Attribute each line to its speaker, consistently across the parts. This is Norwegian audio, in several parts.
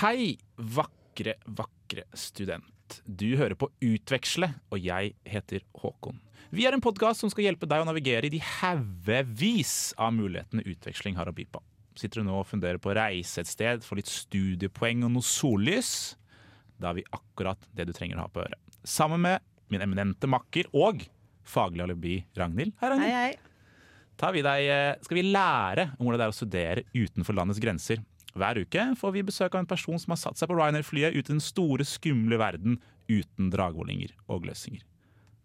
Speaker 1: Hei, vakre, vakre student. Du hører på Utveksle, og jeg heter Håkon. Vi er en podkast som skal hjelpe deg å navigere i de haugevis av mulighetene utveksling har å by på. Sitter du nå og funderer på å reise et sted, få litt studiepoeng og noe sollys? Da har vi akkurat det du trenger å ha på øret. Sammen med min eminente makker og faglig alibi Ragnhild. Hei, Ragnhild.
Speaker 2: Hei, hei.
Speaker 1: tar vi deg, eh, skal vi lære om hvordan det er å studere utenfor landets grenser. Hver uke får vi besøk av en person som har satt seg på Ryanair-flyet ut i den store, skumle verden uten dragvollinger og løsninger.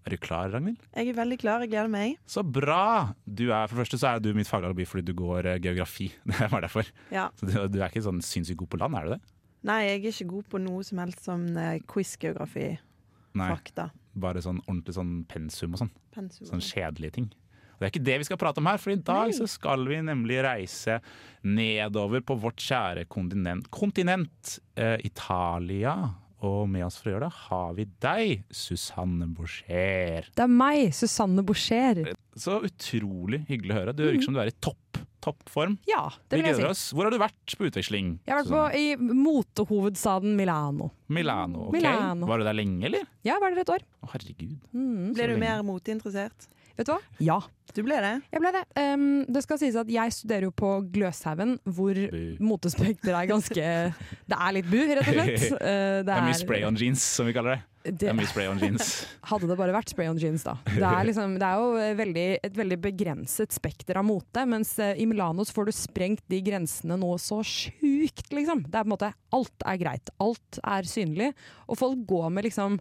Speaker 1: Er du klar, Ragnhild?
Speaker 2: Jeg er veldig klar, jeg gleder meg.
Speaker 1: Så bra! Du er, for det første så er du mitt fagalbi fordi du går eh, geografi. Det var derfor.
Speaker 2: Ja.
Speaker 1: Så du, du er ikke sånn sinnssykt god på land, er du det?
Speaker 2: Nei, jeg er ikke god på noe som helst som eh, quiz-geografi-fakta.
Speaker 1: Nei. Bare sånn ordentlig sånn pensum og sånn.
Speaker 2: Pensum.
Speaker 1: Sånn kjedelige ting. Og det er ikke det vi skal prate om her, for i dag så skal vi nemlig reise nedover på vårt kjære kontinent, kontinent eh, Italia. Og med oss for å gjøre det har vi deg, Susanne Boucher.
Speaker 3: Det er meg, Susanne Boucher.
Speaker 1: Så utrolig hyggelig å høre. Du virker som du er i topp, toppform.
Speaker 3: Ja, Mm.
Speaker 1: Vi
Speaker 3: det vil jeg si.
Speaker 1: gleder oss. Hvor har du vært på utveksling?
Speaker 3: Jeg har vært på,
Speaker 1: Susanne?
Speaker 3: i motehovedstaden Milano.
Speaker 1: Milano. ok.
Speaker 3: Milano.
Speaker 1: Var du der lenge, eller?
Speaker 3: Ja, var der et år.
Speaker 1: Å, herregud.
Speaker 3: Mm.
Speaker 2: Ble
Speaker 1: så
Speaker 2: du
Speaker 1: lenge.
Speaker 2: mer moteinteressert?
Speaker 3: Vet du hva? Ja,
Speaker 2: Du ble det?
Speaker 3: jeg ble det. Em, det skal sies at jeg studerer jo på Gløshaugen, hvor
Speaker 1: Bu.
Speaker 3: motespekter er ganske Det er litt bu, rett og slett. Eh,
Speaker 1: Det er mye spray on jeans, som vi kaller det. Det
Speaker 3: Det,
Speaker 1: er mye spray on jeans.
Speaker 3: hadde det bare vært spray on jeans, da. Det er, liksom, det er jo veldig, et veldig begrenset spekter av mote, mens eh, i Milano så får du sprengt de grensene nå så sjukt, liksom. Det er på en måte Alt er greit. Alt er synlig. Og folk går med liksom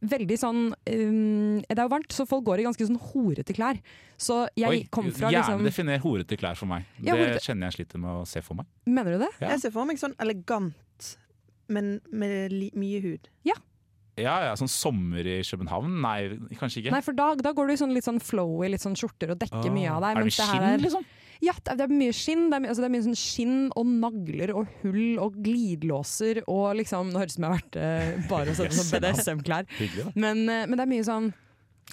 Speaker 3: Veldig sånn um, Det er jo varmt, så folk går i ganske sånn horete klær. Så jeg
Speaker 1: Oi,
Speaker 3: kom fra
Speaker 1: Gjerne
Speaker 3: liksom
Speaker 1: definer horete klær for meg.
Speaker 3: Ja,
Speaker 1: det
Speaker 3: horete-
Speaker 1: kjenner jeg sliter med å se for meg.
Speaker 3: Mener du det?
Speaker 1: Ja.
Speaker 2: Jeg ser for meg sånn elegant, men med li mye hud.
Speaker 1: Ja, ja, Sånn sommer i København? Nei, kanskje ikke.
Speaker 3: Nei, for da, da går du i sånn litt sånn flowy, litt sånn skjorter og dekker
Speaker 1: Ah,
Speaker 3: mye av deg.
Speaker 1: Er det
Speaker 3: mens her
Speaker 1: skinn, liksom?
Speaker 3: Ja, det er- det er mye skinn. Det er, my- altså det er mye sånn skinn og nagler og hull og glidelåser og liksom Nå høres det ut som jeg har vært eh, bare og sett
Speaker 1: Yes,
Speaker 3: sånn BDSM-klær.
Speaker 1: Hyggelig, da.
Speaker 3: Men, eh, men det er mye sånn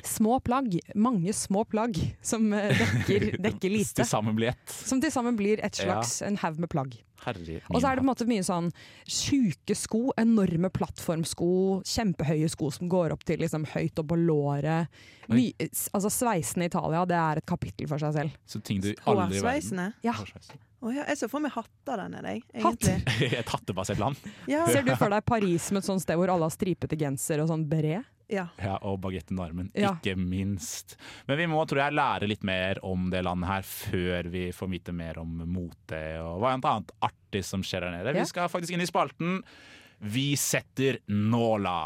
Speaker 3: små plagg. Mange små plagg som eh, dekker, dekker
Speaker 1: Til
Speaker 3: lite.
Speaker 1: sammen blir ett.
Speaker 3: Som til sammen blir et slags en haug med plagg.
Speaker 1: Herre
Speaker 3: Og så er det på en
Speaker 1: min hatt.
Speaker 3: måte mye sånn sjuke sko, enorme plattformsko, kjempehøye sko som går opp til liksom høyt opp på låret. My, s- altså Sveisen i Italia, det er et kapittel for seg selv.
Speaker 1: Så ting du aldri i verden
Speaker 2: Hårsveisene.
Speaker 3: Ja.
Speaker 1: Hårsveisen.
Speaker 2: Å ja, jeg ser for meg hatter der nede, jeg.
Speaker 3: Hatt?
Speaker 2: Egentlig.
Speaker 1: Et hattebasert land.
Speaker 2: Ja.
Speaker 3: Ser du for deg Paris som et sånt sted hvor alle har stripete genser og sånn beret?
Speaker 2: ja.
Speaker 1: Ja, og bagetten i armen,
Speaker 3: Ja.
Speaker 1: ikke minst. Men vi må tror jeg, lære litt mer om det landet her før vi får vite mer om mote og hva annet artig som skjer der nede.
Speaker 3: Ja.
Speaker 1: Vi skal faktisk inn i spalten Vi setter nåla.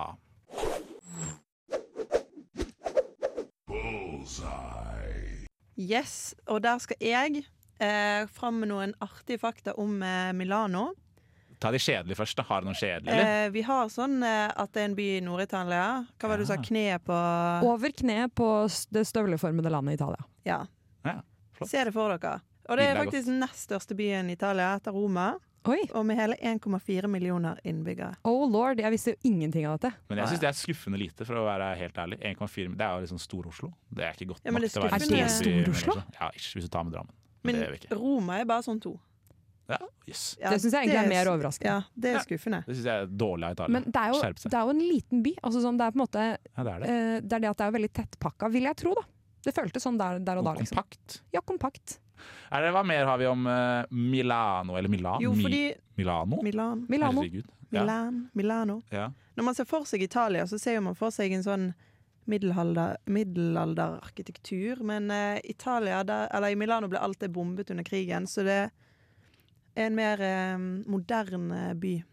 Speaker 2: Yes, og der skal jeg eh, fram med noen artige fakta om eh, Milano.
Speaker 1: Ta de kjedelige først. da. Har du noe kjedelig? eller?
Speaker 2: Eh, vi har sånn eh, at det er en by i Nord-Italia. Hva var det du sa?
Speaker 1: Ja.
Speaker 2: Kneet på
Speaker 3: Over kneet på s- det støvleformede landet Italia.
Speaker 2: Ja.
Speaker 1: Ja, flott.
Speaker 2: Se det for dere. Og det
Speaker 1: Bildet
Speaker 2: er
Speaker 1: er
Speaker 2: faktisk den nest største byen i Italia etter Roma,
Speaker 3: Oi!
Speaker 2: og med hele 1,4 millioner innbyggere.
Speaker 3: Oh lord, jeg visste jo ingenting av dette.
Speaker 1: Men jeg syns det er skuffende lite, for å være helt ærlig. 1,4 Det er jo liksom Stor-Oslo. Det er ikke godt
Speaker 2: Ja, men
Speaker 1: nok.
Speaker 2: det er
Speaker 1: til å være en
Speaker 2: skuffende.
Speaker 1: stor by,
Speaker 3: Er det Stor-Oslo?
Speaker 1: men også- Ja, ish, hvis du tar med Drammen. Men
Speaker 2: Men
Speaker 1: det gjør vi ikke.
Speaker 2: Roma er bare sånn to.
Speaker 1: Ja, yes.
Speaker 2: Ja,
Speaker 3: det syns jeg egentlig er mer overraskende.
Speaker 2: Ja, det
Speaker 1: Ja.
Speaker 2: er skuffende.
Speaker 1: Det syns jeg er dårlig av Italia.
Speaker 3: Men det er, jo,
Speaker 1: Skjerp seg.
Speaker 3: det er jo en liten by. Altså sånn, det er på en måte
Speaker 1: Ja, det er det.
Speaker 3: eh, Det er det at det er veldig tettpakka, vil jeg tro, da. Det føltes sånn der, der og da,
Speaker 1: Og
Speaker 3: liksom.
Speaker 1: kompakt.
Speaker 3: Ja, kompakt.
Speaker 1: Er det, hva mer har vi om eh, Milano, eller Milan?
Speaker 2: Jo,
Speaker 1: Mi-
Speaker 2: fordi
Speaker 1: Milano?
Speaker 2: Milan,
Speaker 3: Milano.
Speaker 1: Herregud. Ja.
Speaker 2: Milan, Milano
Speaker 1: Ja.
Speaker 2: Når man ser for seg Italia, så ser jo man for seg en sånn middelalder- middelalderarkitektur. Men eh, Italia, der, eller i Milano ble alt det bombet under krigen, så det er en mer eh, moderne by.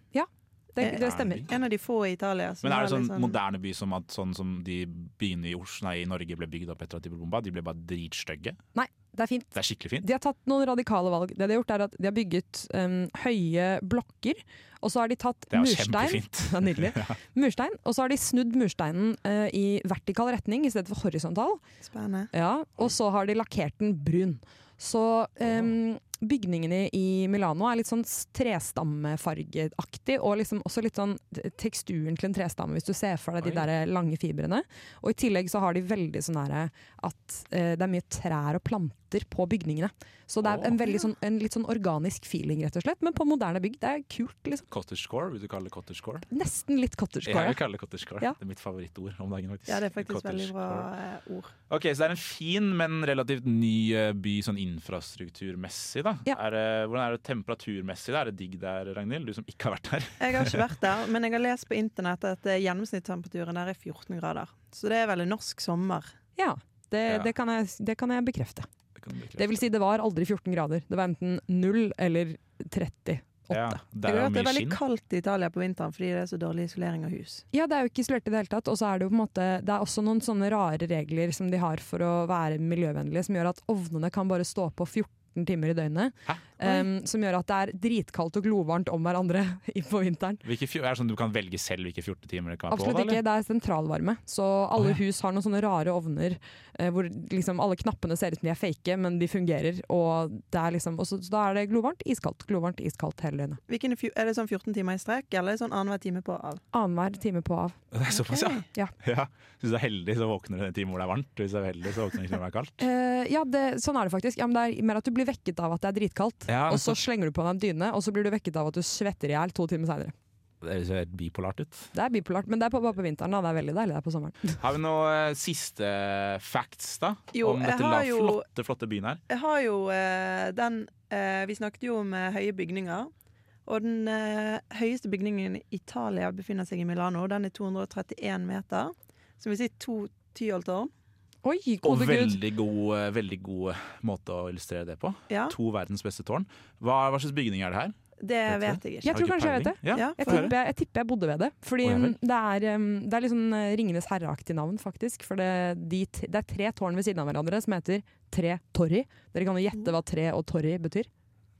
Speaker 3: Det, det stemmer.
Speaker 2: En av de få i Italia. som
Speaker 1: Men er det
Speaker 2: har
Speaker 1: sånn
Speaker 2: litt
Speaker 1: moderne by som at sånn som de byene i Oslo, nei, i Norge ble bygd opp etter at de ble bomba? De ble bare dritstygge?
Speaker 3: Nei, Det er fint.
Speaker 1: Det er skikkelig fint.
Speaker 3: De har tatt noen radikale valg. Det De har gjort er at de har bygget um, høye blokker, og så har de tatt
Speaker 1: Det er jo
Speaker 3: murstein.
Speaker 1: kjempefint.
Speaker 3: Det er nydelig. Murstein, og så har de snudd mursteinen eh, i vertikal retning i stedet for horisontal.
Speaker 2: Spennende.
Speaker 3: Ja, og så har de lakkert den brun. Så em, bygningene i Milano er litt sånn s- trestammefargeaktig, og liksom også litt sånn t- teksturen til en trestamme, hvis du ser for deg de
Speaker 1: Oi.
Speaker 3: der eh, lange fibrene. Og i tillegg så har de veldig sånn derre at eh, det er mye trær og planter på bygningene. Så det er en, veldig sånn, en litt sånn organisk feeling, rett og slett, men på moderne bygg. Det er kult, liksom.
Speaker 1: Cottagecore, vil du kalle det cottagecore?
Speaker 3: Nesten litt
Speaker 1: Jeg
Speaker 3: cottagecore.
Speaker 1: vil kalle det cottagecore.
Speaker 3: Ja.
Speaker 1: Det er mitt favorittord om dagen, faktisk.
Speaker 2: Ja, det er faktisk veldig bra
Speaker 1: Cottagecore.
Speaker 2: eh, ord.
Speaker 1: Ok, Så det er en fin, men relativt ny eh, by sånn infrastrukturmessig, da.
Speaker 3: Ja.
Speaker 1: Er det, hvordan er det temperaturmessig? da? Er det digg der, Ragnhild? Du som ikke har vært der.
Speaker 2: Jeg har ikke vært der, men jeg har lest på internett at eh, gjennomsnittstemperaturen der er 14 grader. Så det er veldig norsk sommer.
Speaker 3: Ja, det,
Speaker 1: Ja.
Speaker 3: det, kan jeg, det kan jeg bekrefte.
Speaker 1: Det kan du bekrefte.
Speaker 3: Det vil si, det var aldri 14 grader. Det var enten 0 eller 38.
Speaker 1: ja,
Speaker 2: Jeg
Speaker 1: der er
Speaker 2: hører
Speaker 1: jo
Speaker 2: at det er
Speaker 1: mye
Speaker 2: veldig
Speaker 1: skinn.
Speaker 2: kaldt i Italia på vinteren fordi det er så dårlig isolering av hus.
Speaker 3: Ja, det er jo ikke isolert i det hele tatt. Og så er det jo på en måte Det er også noen sånne rare regler som de har for å være miljøvennlige, som gjør at ovnene kan bare stå på 14 timer i døgnet.
Speaker 1: Hæ?
Speaker 2: Um,
Speaker 3: Em, som gjør at det er dritkaldt og glovarmt om hverandre i- på vinteren.
Speaker 1: Hvilke fjo- er det sånn du kan velge selv hvilke 14 timer det kan være på?
Speaker 3: Absolutt
Speaker 1: da,
Speaker 3: ikke. Det er sentralvarme. Så alle
Speaker 1: Å, ja.
Speaker 3: hus har noen sånne rare ovner eh, hvor liksom alle knappene ser ut som de er fake, men de fungerer. Og det er liksom og så, så da er det glovarmt, iskaldt, glovarmt, iskaldt hele døgnet.
Speaker 2: Hvilken fjo- er det sånn 14 timer i strekk, eller er det sånn annenhver time på og av?
Speaker 3: Annenhver time på og av.
Speaker 1: Det er såpass, ja.
Speaker 3: Ja.
Speaker 1: ja. Hvis du er heldig, så våkner du den timen hvor det er varmt. Hvis du er uheldig, så våkner du ikke når det er kaldt.
Speaker 3: Eh, ja, det, sånn er det faktisk. Ja, men det er mer at du blir vekket av at det er dritkaldt.
Speaker 1: Ja,
Speaker 3: og så slenger du på deg en dyne, og så blir du vekket av at du svetter i hjel to timer seinere.
Speaker 1: Det høres jo helt bipolart ut.
Speaker 3: Det er bipolart, men det er på- bare på vinteren. Da. Det er veldig deilig der på sommeren.
Speaker 1: Har vi noen eh, siste facts, da?
Speaker 2: Jo,
Speaker 1: om
Speaker 2: jeg
Speaker 1: dette
Speaker 2: har
Speaker 1: la,
Speaker 2: jo-
Speaker 1: flotte, flotte byen her?
Speaker 2: Jeg har jo eh, den eh, Vi snakket jo om eh, høye bygninger. Og den eh, høyeste bygningen i Italia befinner seg i Milano. Den er 231 meter, som vil si to tyholtårn.
Speaker 3: Oi,
Speaker 1: Og
Speaker 3: gode gud!
Speaker 1: veldig god, eh, veldig god måte å illustrere det på.
Speaker 2: Ja,
Speaker 1: To verdens beste tårn. Hva, hva slags bygning er det her?
Speaker 2: det
Speaker 1: Vet
Speaker 2: vet jeg ikke.
Speaker 3: Jeg
Speaker 1: Har du
Speaker 3: tror
Speaker 1: ikke
Speaker 3: kanskje jeg vet det.
Speaker 1: peiling? Ja,
Speaker 2: Ja.
Speaker 3: Jeg
Speaker 1: få høre.
Speaker 3: tipper jeg, jeg tipper jeg bodde ved det.
Speaker 1: Å,
Speaker 3: Fordi
Speaker 1: ja vel.
Speaker 3: mm, det er, um, det er litt sånn eh, Ringenes herreaktig navn, faktisk. For det, de, t- det er tre tårn ved siden av hverandre som heter Tre Torry. Dere kan jo gjette hva tre og torry betyr.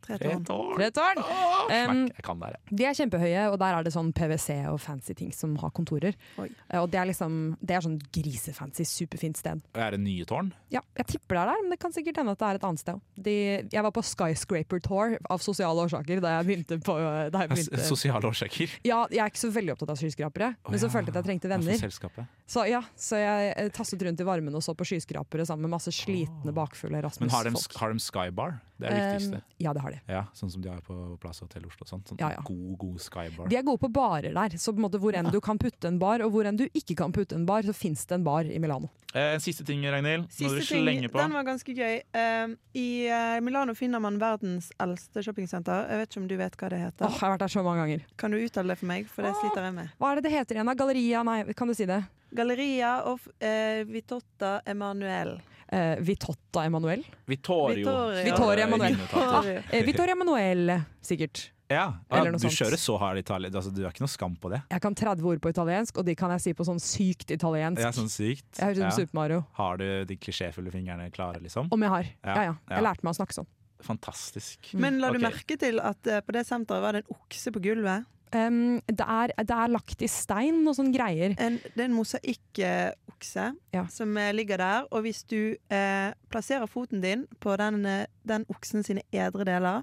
Speaker 2: Tre
Speaker 1: Tre
Speaker 2: tårn.
Speaker 1: tårn!
Speaker 3: Tre tårn! Um,
Speaker 1: Smack, jeg kan det her. jeg.
Speaker 3: De er kjempehøye, og der er det sånn PwC og fancy ting som har kontorer.
Speaker 2: Oi.
Speaker 3: Eh, Og det er liksom Det er sånn grisefancy, superfint sted.
Speaker 1: Og Er det nye tårn?
Speaker 3: Ja, jeg tipper det er der, men det kan sikkert hende at det er et annet sted også. De, jeg var på skyscraper tour av sosiale årsaker da jeg begynte på eh, da jeg
Speaker 1: S-
Speaker 3: begynte.
Speaker 1: Sosiale årsaker.
Speaker 3: Ja, jeg er ikke så veldig opptatt av skyskrapere, men så
Speaker 1: ja.
Speaker 3: følte jeg at jeg trengte
Speaker 1: Ja,
Speaker 3: venner.
Speaker 1: For selskapet.
Speaker 3: Så, ja, så jeg eh, tasset rundt i varmen og så på skyskrapere sammen med masse slitne, bakfulle
Speaker 1: Men har de,
Speaker 3: Rasmus-folk.
Speaker 1: har de skybar? Det er det viktigste.
Speaker 3: Eh, ja, det har de.
Speaker 1: Ja, sånn som de har på Plaza Hotel Oslo. og Sånn, sånn
Speaker 3: Ja, ja.
Speaker 1: god, god skybar.
Speaker 3: De er gode på barer der, så på en måte hvor enn du kan putte en bar, og hvor enn du ikke kan putte en bar, så fins det en bar i Milano.
Speaker 1: Eh, siste ting, Ragnhild. Må du
Speaker 2: Siste ting,
Speaker 1: slenge på.
Speaker 2: den var ganske gøy. Um, I eh, Milano finner man verdens eldste shoppingsenter. Jeg vet ikke om du vet hva det
Speaker 3: Åh,
Speaker 2: heter.
Speaker 3: jeg har vært der så mange ganger.
Speaker 2: Kan du uttale det for meg, for det sliter jeg med.
Speaker 3: Hva er det det heter igjen? da? Galleria? Nei, kan du si det?
Speaker 2: Galleria of eh, Vitotta Emanuel.
Speaker 3: Eh, Vitotta Emanuel?
Speaker 1: Vittorio.
Speaker 2: Vittorio.
Speaker 3: Vittorio Emanuel.
Speaker 1: Vinnotato.
Speaker 3: Eh, Vittoria Emanuel, sikkert.
Speaker 1: Ja, ja,
Speaker 3: Eller noe
Speaker 1: du
Speaker 3: sånt.
Speaker 1: kjører så hard i Italia. Altså, du har ikke noe skam på det.
Speaker 3: Jeg kan 30 ord på italiensk, og de kan jeg si på sånn sykt italiensk.
Speaker 1: Det er sånn sykt.
Speaker 3: Jeg høres ut som
Speaker 1: Ja.
Speaker 3: Super Mario.
Speaker 1: Har du de klisjéfulle fingrene klare, liksom?
Speaker 3: Om jeg har.
Speaker 1: Ja,
Speaker 3: Ja, ja. Jeg
Speaker 1: ja.
Speaker 3: lærte meg å snakke sånn.
Speaker 1: Fantastisk.
Speaker 2: Men la
Speaker 1: Ok.
Speaker 2: du merke til at eh, på det senteret var det en okse på gulvet?
Speaker 3: Um, det, er, det er lagt i stein og sånne greier.
Speaker 2: En, det er en mosaikkokse
Speaker 3: Ja.
Speaker 2: som eh, ligger der. Og hvis du eh, plasserer foten din på den, eh, den oksen sine edre deler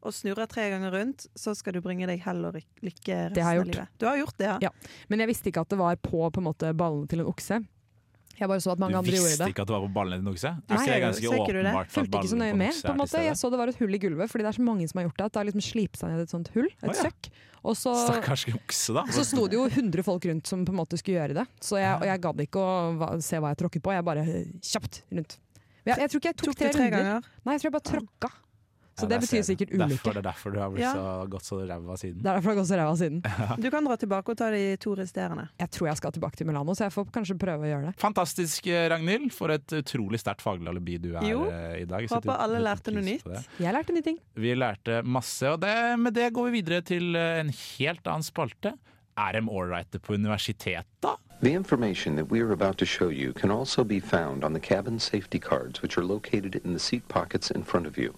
Speaker 2: og snurrer tre ganger rundt, så skal du bringe deg hell og ry- lykke resten
Speaker 3: Det har jeg
Speaker 2: av
Speaker 3: gjort.
Speaker 2: livet. Du har gjort det, ja?
Speaker 3: Ja. Men jeg visste ikke at det var på, på en måte, ballene til en okse. Jeg bare så at mange
Speaker 1: Du
Speaker 3: andre gjorde
Speaker 1: visste
Speaker 3: det.
Speaker 1: ikke at du var på ballen din okse? Er
Speaker 3: Nei,
Speaker 1: ikke det ganske
Speaker 2: så ikke du det?
Speaker 1: åpenbart at
Speaker 3: fulgte ikke så
Speaker 1: ballen
Speaker 3: nøye med.
Speaker 1: okse
Speaker 3: på en
Speaker 1: er til
Speaker 3: måte.
Speaker 1: stede?
Speaker 3: Jeg så det var et hull i gulvet, fordi det er så mange som har gjort det. At det har liksom slipt seg ned et sånt hull. Et
Speaker 1: Å, ja.
Speaker 3: søkk. Og så,
Speaker 1: Stakkars okse, da.
Speaker 3: så sto det jo 100 folk rundt som på en måte skulle gjøre det. Så jeg, og jeg gadd ikke å va- se hva jeg tråkket på. Jeg bare eh, kjapt rundt. Men jeg, jeg tror ikke jeg tok,
Speaker 2: Tok du tre
Speaker 3: runder.
Speaker 2: ganger?
Speaker 3: Nei, jeg tror jeg bare tråkka. Så
Speaker 1: Ja,
Speaker 3: det
Speaker 1: der
Speaker 3: betyr
Speaker 1: ser du.
Speaker 3: sikkert ulykke.
Speaker 1: Derfor, det er derfor du har blitt
Speaker 2: Ja.
Speaker 1: så gått så ræva siden.
Speaker 3: Det er derfor det har gått så ræva siden.
Speaker 2: Du kan dra tilbake og ta de to resterende.
Speaker 3: Jeg tror jeg skal tilbake til Milano, så jeg får kanskje prøve å gjøre det.
Speaker 1: Fantastisk, eh, Ragnhild, for et utrolig sterkt faglig alibi du er
Speaker 2: Jo.
Speaker 1: eh, i dag.
Speaker 2: Håper
Speaker 1: Setter
Speaker 2: alle
Speaker 1: veldig
Speaker 2: lærte noe
Speaker 1: pris
Speaker 2: nytt.
Speaker 1: på det.
Speaker 3: Jeg lærte nye ting.
Speaker 1: Vi lærte masse, og det, med det går vi videre til eh, en helt annen spalte. Er de ålreite på universitetet, da?
Speaker 4: The information that we are about to show you can also be found on the cabin safety cards, which are located in the seat pockets in front of you.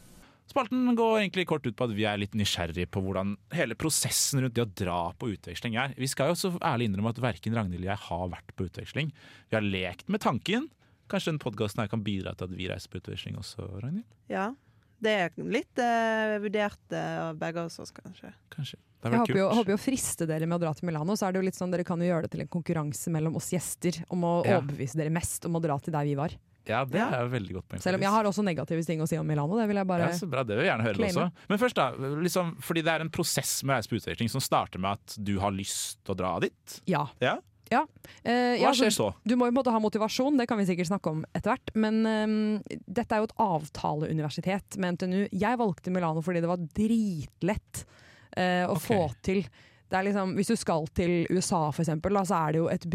Speaker 1: Spalten går egentlig kort ut på at vi er litt nysgjerrige på hvordan hele prosessen rundt det å dra på utveksling er. Vi skal jo så ærlig innrømme at verken Ragnhild eller jeg har vært på utveksling. Vi har lekt med tanken. Kanskje den podkasten her kan bidra til at vi reiser på utveksling også, Ragnhild?
Speaker 2: Ja. Det er litt eh, vurdert eh, av begge oss også, kanskje.
Speaker 1: Kanskje. Det
Speaker 3: Jeg
Speaker 1: hadde
Speaker 3: håper jo,
Speaker 1: vært kult.
Speaker 3: håper jo å friste dere med å dra til Milano. Så er det jo litt sånn, Dere kan jo gjøre det til en konkurranse mellom oss gjester om å
Speaker 1: Ja.
Speaker 3: overbevise dere mest om å dra til der vi var.
Speaker 1: Ja, det er jo veldig godt poeng.
Speaker 3: Selv om jeg
Speaker 1: faktisk.
Speaker 3: har også negative ting å si om Milano. Det vil jeg bare
Speaker 1: Ja, så bra, Det vil vi gjerne høre det også.
Speaker 3: claime.
Speaker 1: Men først, da. Liksom, fordi det er en prosess med å reise på utveksling som starter med at du har lyst til å dra dit.
Speaker 3: Ja.
Speaker 1: Ja.
Speaker 3: Ja. Eh, ja,
Speaker 1: Hva
Speaker 3: altså,
Speaker 1: skjer så?
Speaker 3: Du må jo på en måte ha motivasjon, det kan vi sikkert snakke om etter hvert. Men eh, dette er jo et avtaleuniversitet med NTNU. Jeg valgte Milano fordi det var dritlett eh, å
Speaker 1: Ok.
Speaker 3: få til. Det er liksom, hvis du skal til USA, for eksempel, da, så er det jo et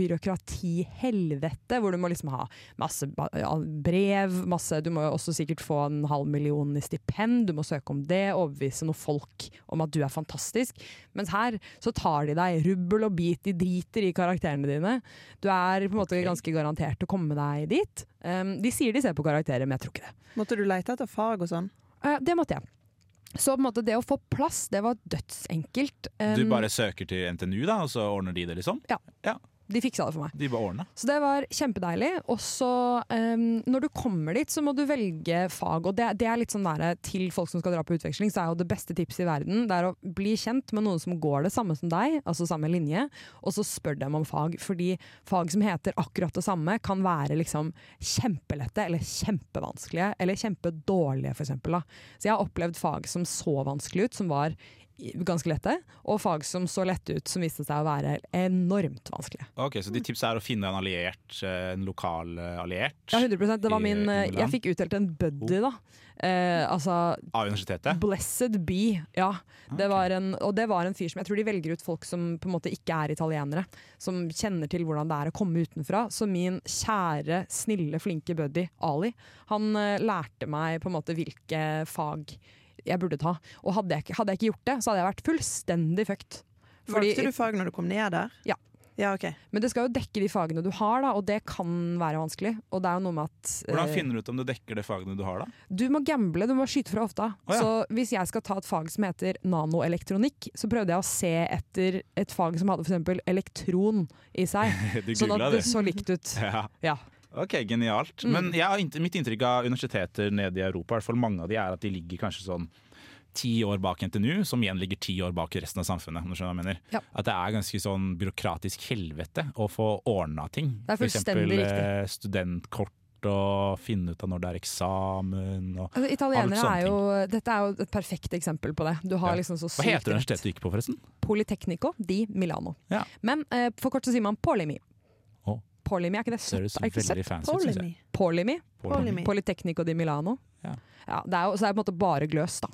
Speaker 3: byråkratihelvete. Hvor du må liksom ha masse ba- ja, brev, masse, du må jo også sikkert få en halv million i stipend. Du må søke om det, overbevise noen folk om at du er fantastisk. Mens her så tar de deg rubbel og bit, de driter i karakterene dine. Du er på en måte ganske garantert å komme deg dit. Um, de sier de ser på karakterer, men jeg tror ikke det.
Speaker 2: Måtte du lete etter farg og sånn?
Speaker 3: Eh, det måtte jeg. Så på en måte det å få plass, det var dødsenkelt. Um,
Speaker 1: Du bare søker til NTNU, da, og så ordner de det, liksom?
Speaker 3: De fiksa det for meg.
Speaker 1: De bare ordner.
Speaker 3: Så det var kjempedeilig. Og så em, når du kommer dit, så må du velge fag. Og det, det er litt sånn der, til folk som skal dra på utveksling, så er jo det beste tipset i verden det er å bli kjent med noen som går det samme som deg, altså samme linje, og så spør dem om fag. Fordi fag som heter akkurat det samme, kan være liksom kjempelette eller kjempevanskelige eller kjempedårlige, for eksempel. Da. Så jeg har opplevd fag som så vanskelig ut, som var i- ganske lette, og fag som så lette ut, som viste seg å være enormt vanskelige.
Speaker 1: Ok, Så ditt tips er å finne en alliert, eh, en lokal eh, alliert
Speaker 3: Ja, 100 Det var
Speaker 1: i-
Speaker 3: min
Speaker 1: i
Speaker 3: eh, Jeg
Speaker 1: Milan.
Speaker 3: fikk utdelt en buddy, da. Eh, altså
Speaker 1: av universitetet?
Speaker 3: Blessed be. Ja.
Speaker 1: Ah,
Speaker 3: Det var en, og det var en fyr som Jeg tror de velger ut folk som på en måte ikke er italienere. Som kjenner til hvordan det er å komme utenfra. Så min kjære, snille, flinke buddy Ali, han eh, lærte meg på en måte hvilke fag jeg burde ta. Og hadde jeg, ikke- hadde jeg ikke gjort det, så hadde jeg vært fullstendig fucked. Fordi-
Speaker 2: Valgte du farg når du kom ned der?
Speaker 3: Ja.
Speaker 2: Ja, ok.
Speaker 3: Men det skal jo dekke de fagene du har, da, og det kan være vanskelig. Og det er jo noe med at eh,
Speaker 1: Hvordan finner du ut om du dekker det fagene du har, da?
Speaker 3: Du må gamble, du må skyte fra hofta.
Speaker 1: Å, ja.
Speaker 3: Så hvis jeg skal ta et fag som heter nanoelektronikk, så prøvde jeg å se etter et fag som hadde f.eks. elektron i seg.
Speaker 1: Du
Speaker 3: sånn
Speaker 1: googla,
Speaker 3: at det
Speaker 1: du.
Speaker 3: så likt ut.
Speaker 1: Ja.
Speaker 3: Ja.
Speaker 1: Ok, genialt.
Speaker 3: Mm.
Speaker 1: Men jeg har int- mitt inntrykk av universiteter nede i Europa, i hvert fall mange av de, er at de ligger kanskje sånn ti år bak NTNU, som igjen ligger ti år bak resten av samfunnet. om du skjønner hva jeg mener.
Speaker 3: Ja.
Speaker 1: At det er ganske sånn byråkratisk helvete å få ordna ting.
Speaker 3: Det er
Speaker 1: For eksempel,
Speaker 3: fullstendig
Speaker 1: eh, studentkort og finne ut av når det er eksamen og
Speaker 3: Altså, italienere
Speaker 1: sånne
Speaker 3: er jo Dette er jo et perfekt eksempel på det. Du har
Speaker 1: Ja.
Speaker 3: liksom så
Speaker 1: Hva heter
Speaker 3: rett.
Speaker 1: universitetet du gikk på, forresten?
Speaker 3: Politecnico di Milano.
Speaker 1: Ja.
Speaker 3: Men eh, for kort så sier man Polimi.
Speaker 1: Å.
Speaker 3: Polimi, er ikke det
Speaker 1: Det
Speaker 3: søtt?
Speaker 1: høres
Speaker 3: Er ikke det søtt?
Speaker 1: veldig fancy ut, syns jeg.
Speaker 2: Polemy.
Speaker 3: Polimi.
Speaker 2: Polemy.
Speaker 3: Politecnico di Milano.
Speaker 1: Ja.
Speaker 3: det er jo, så det er på en måte bare gløs, da.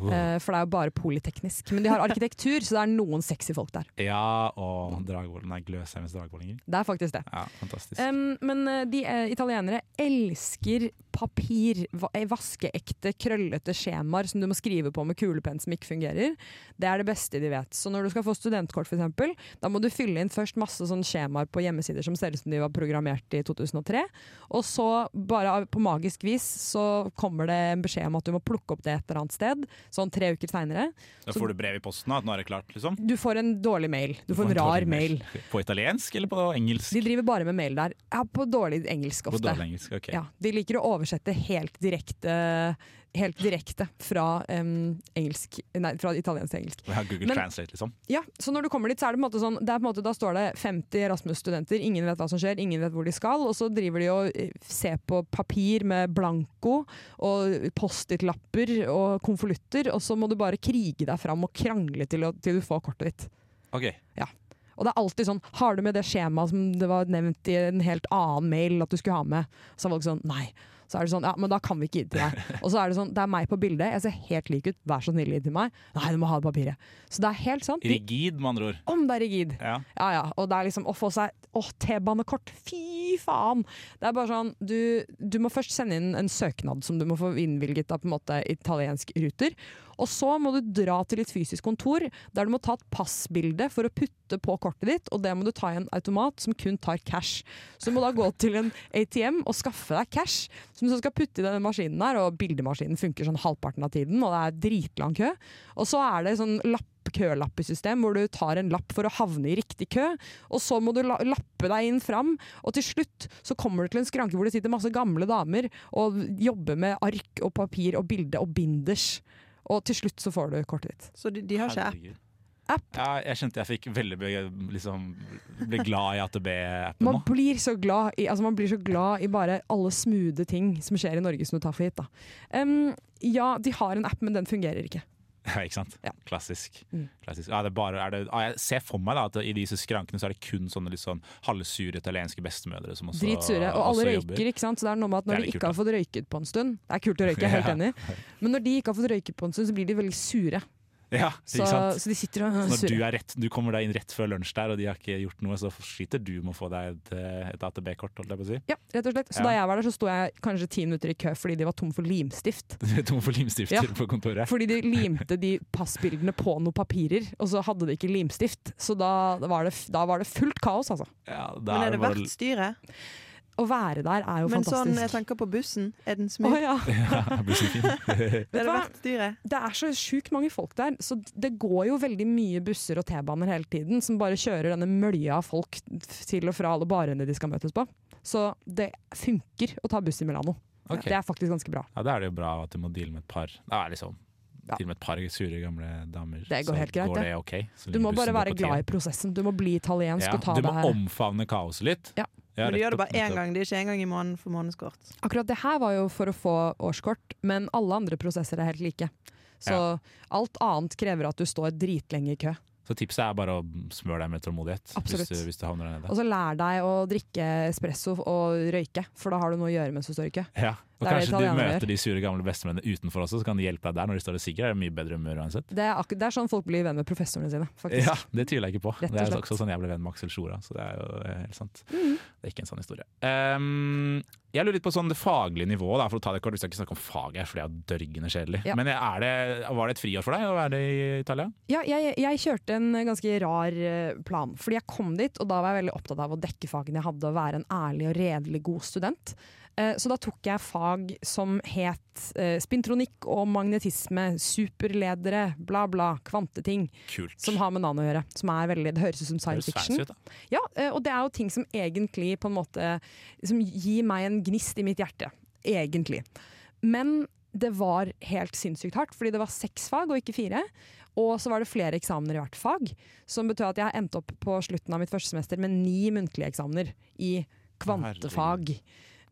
Speaker 1: Mm.
Speaker 3: Eh, for det er jo bare politeknisk. Men de har arkitektur, så det er noen sexy folk der.
Speaker 1: Ja, og Dragvoll. Nei, Gløsheims dragvollinger.
Speaker 3: Det er faktisk det.
Speaker 1: Ja, fantastisk.
Speaker 3: Um, men eh, de eh, italienere elsker papir. Va eh, vaskeekte, krøllete skjemaer som du må skrive på med kulepenn som ikke fungerer. Det er det beste de vet. Så når du skal få studentkort, for eksempel, da må du fylle inn først masse sånne skjemaer på hjemmesider som ser ut som de var programmert i 2003. Og så, bare av- på magisk vis, så kommer det en beskjed om at du må plukke opp det et eller annet sted, sånn tre uker seinere.
Speaker 1: da får du brev i posten, da, at nå er det klart, liksom?
Speaker 3: Du får en dårlig mail. Du får
Speaker 1: På
Speaker 3: en rar
Speaker 1: dårlig
Speaker 3: mail.
Speaker 1: På italiensk eller på engelsk?
Speaker 3: De driver bare med mail der. Ja, på dårlig engelsk
Speaker 1: På
Speaker 3: ofte.
Speaker 1: dårlig engelsk, ok.
Speaker 3: Ja, de liker å oversette helt direkte, helt direkte fra, em, engelsk, nei, fra italiensk til engelsk.
Speaker 1: Vi har Google
Speaker 3: Men-
Speaker 1: Translate, liksom.
Speaker 3: Ja, så når du kommer dit, så er det på en måte sånn det er på en måte, Da står det 50 Erasmus-studenter, ingen vet hva som skjer, ingen vet hvor de skal. Og så driver de og eh, ser på papir med blanko og Post-It-lapper og konvolutter, og så må du bare krige deg fram og krangle til, å- til du får kortet ditt. Og det er alltid sånn Har du med det skjemaet som det var nevnt i en helt annen mail at du skulle ha med? Så er folk sånn Nei. Så er det sånn Ja, men da kan vi ikke gi det til deg. Og så er det sånn Det er meg på bildet. Jeg ser helt lik ut. Vær så snill, gi det til meg. Nei, du må ha det papiret. Så det er helt sant. De,
Speaker 1: Rigid, med andre ord.
Speaker 3: om det er rigid.
Speaker 1: Ja.
Speaker 3: Ja, ja. Og det er liksom å få seg Å, T-banekort! Fy faen! Det er bare sånn du, du må først sende inn en søknad som du må få innvilget av på en måte italiensk ruter. Og så må du dra til et fysisk kontor der du må ta et passbilde for å putte på kortet ditt, og det må du ta i en automat som kun tar cash. Så du må da gå til en ATM og skaffe deg cash, som du så skal putte i denne maskinen her, og bildemaskinen funker sånn halvparten av tiden, og det er dritlang kø. Og så er det sånn lapp kølappesystem hvor du tar en lapp for å havne i riktig kø, og så må du la lappe deg inn fram, og til slutt så kommer du til en skranke hvor det sitter masse gamle damer og jobber med ark og papir og bilde og binders. Og til slutt så får du kortet ditt.
Speaker 2: Så de, de har ikke app.
Speaker 1: Herregud.
Speaker 3: App.
Speaker 1: Ja, jeg kjente jeg fikk veldig be- liksom, ble glad i AtB-appen
Speaker 3: Man
Speaker 1: nå.
Speaker 3: blir, så glad i, altså man blir så glad i bare alle smoothe ting som skjer i Norge som du tar for gitt. da. Em, ja, de har en app, men den fungerer ikke.
Speaker 1: Ja, ikke sant?
Speaker 3: Ja.
Speaker 1: Klassisk.
Speaker 3: Mm.
Speaker 1: Klassisk. Ja, det er bare, er det, ja, jeg ser for meg da, at i disse skrankene så er det kun sånne litt sånn halvsure italienske bestemødre som også
Speaker 3: Dritsure. Og alle
Speaker 1: også
Speaker 3: røyker,
Speaker 1: jobber.
Speaker 3: ikke sant. Så det er noe med at
Speaker 1: Det er
Speaker 3: når de
Speaker 1: litt
Speaker 3: ikke
Speaker 1: kult,
Speaker 3: har fått røyket på en stund Det er kult å røyke, jeg er
Speaker 1: Ja.
Speaker 3: helt enig. Men når de ikke har fått røyket på en stund, så blir de veldig sure.
Speaker 1: Ja,
Speaker 3: Så,
Speaker 1: ikke sant?
Speaker 3: så de sitter og
Speaker 1: Så når
Speaker 3: øh,
Speaker 1: du,
Speaker 3: surrer.
Speaker 1: er rett, du kommer deg inn rett før lunsj der, og de har ikke gjort noe, så sliter du med å få deg et, eh, et AtB-kort, holdt jeg på å si.
Speaker 3: Ja, rett og slett. Så
Speaker 1: Ja.
Speaker 3: da jeg var der, så sto jeg kanskje ti minutter i kø fordi de var tom for limstift.
Speaker 1: Du er tom for limstifter
Speaker 3: Ja.
Speaker 1: på kontoret.
Speaker 3: Fordi de limte de passbildene på noen papirer, og så hadde de ikke limstift. Så da var det, da var det fullt kaos, altså.
Speaker 1: Ja, da
Speaker 2: Men er det
Speaker 1: bare-
Speaker 2: verdt styret?
Speaker 3: Å være der er jo
Speaker 2: Men sånn, jeg
Speaker 3: fantastisk.
Speaker 2: tenker på bussen. Er den
Speaker 3: Å
Speaker 2: smooth?
Speaker 3: ja.
Speaker 1: Ja, det blir så fint.
Speaker 2: Er
Speaker 3: Vet du
Speaker 2: det
Speaker 3: hva?
Speaker 2: verdt styret?
Speaker 3: Det er så sjukt mange folk der, så det går jo veldig mye busser og T-baner hele tiden som bare kjører denne mølja av folk til og fra alle barene de skal møtes på. Så det funker å ta buss i Milano.
Speaker 1: Ok.
Speaker 3: Det er faktisk ganske bra.
Speaker 1: Ja, da er det jo bra at du må deale med et par Da er det liksom
Speaker 3: Ja.
Speaker 1: Deale med et par sure gamle damer.
Speaker 3: Det går
Speaker 1: så
Speaker 3: helt greit,
Speaker 1: går
Speaker 3: det.
Speaker 1: det ok. så
Speaker 3: Du
Speaker 1: lenge
Speaker 3: må
Speaker 1: bussen
Speaker 3: bare
Speaker 1: går
Speaker 3: være
Speaker 1: på
Speaker 3: glad
Speaker 1: tiden.
Speaker 3: i prosessen. Du må bli italiensk og ta
Speaker 1: ja, Du må
Speaker 3: det her.
Speaker 1: omfavne kaoset litt.
Speaker 3: Ja.
Speaker 2: Men du
Speaker 1: rett
Speaker 2: gjør det
Speaker 1: opp-
Speaker 2: bare én gang. Det er ikke engang i måneden for månedskort.
Speaker 3: Akkurat det her var jo for å få årskort, men alle andre prosesser er helt like. Så
Speaker 1: Ja.
Speaker 3: alt annet krever at du står dritlenge i kø.
Speaker 1: Så tipset er bare å smøre deg med tålmodighet
Speaker 3: Absolutt.
Speaker 1: hvis du, hvis du havner der nede.
Speaker 3: Og så lær deg å drikke espresso og røyke, for da har du noe å gjøre mens du står i kø.
Speaker 1: Ja. Og
Speaker 3: Det er det
Speaker 1: kanskje du
Speaker 3: italienerne
Speaker 1: møter de sure gamle bestemennene utenfor også, så kan de hjelpe deg der når de står og sigger. Det er mye bedre humør uansett.
Speaker 3: Det er, akkur- det er sånn folk blir venn med professorene sine, faktisk.
Speaker 1: Ja, Det tviler jeg ikke på.
Speaker 3: Rett
Speaker 1: Det
Speaker 3: og
Speaker 1: er
Speaker 3: slett. Mm.
Speaker 1: også sånn jeg ble venn med Aksel Sjora, så det er jo eh, helt sant. Det er ikke en sånn historie. Ehm, jeg lurer litt på sånn det faglige nivået, da, for å ta det kort. Vi skal ikke snakke om faget her, for det er jo dørgende kjedelig.
Speaker 3: Ja.
Speaker 1: Men er det, var det et friår for deg å være i Italia?
Speaker 3: Ja, jeg, jeg kjørte en ganske rar eh, plan. Fordi jeg kom dit, og da var jeg veldig opptatt av å dekke fagene jeg hadde, og være en ærlig og redelig god student. Eh, Så da tok jeg fag som het eh, spintronikk og magnetisme, superledere, bla bla, kvanteting,
Speaker 1: Kult.
Speaker 3: som har med nano å gjøre. Som er veldig, det høres ut som
Speaker 1: Det
Speaker 3: science
Speaker 1: høres
Speaker 3: fiction.
Speaker 1: fancy ut, da.
Speaker 3: Ja, eh, og det er jo ting som egentlig på en måte Som gir meg en gnist i mitt hjerte. Egentlig. Men det var helt sinnssykt hardt, fordi det var seks fag og ikke fire. Og så var det flere eksamener i hvert fag, som betød at jeg endte opp på slutten av mitt første semester med ni muntlige eksamener i kvantefag.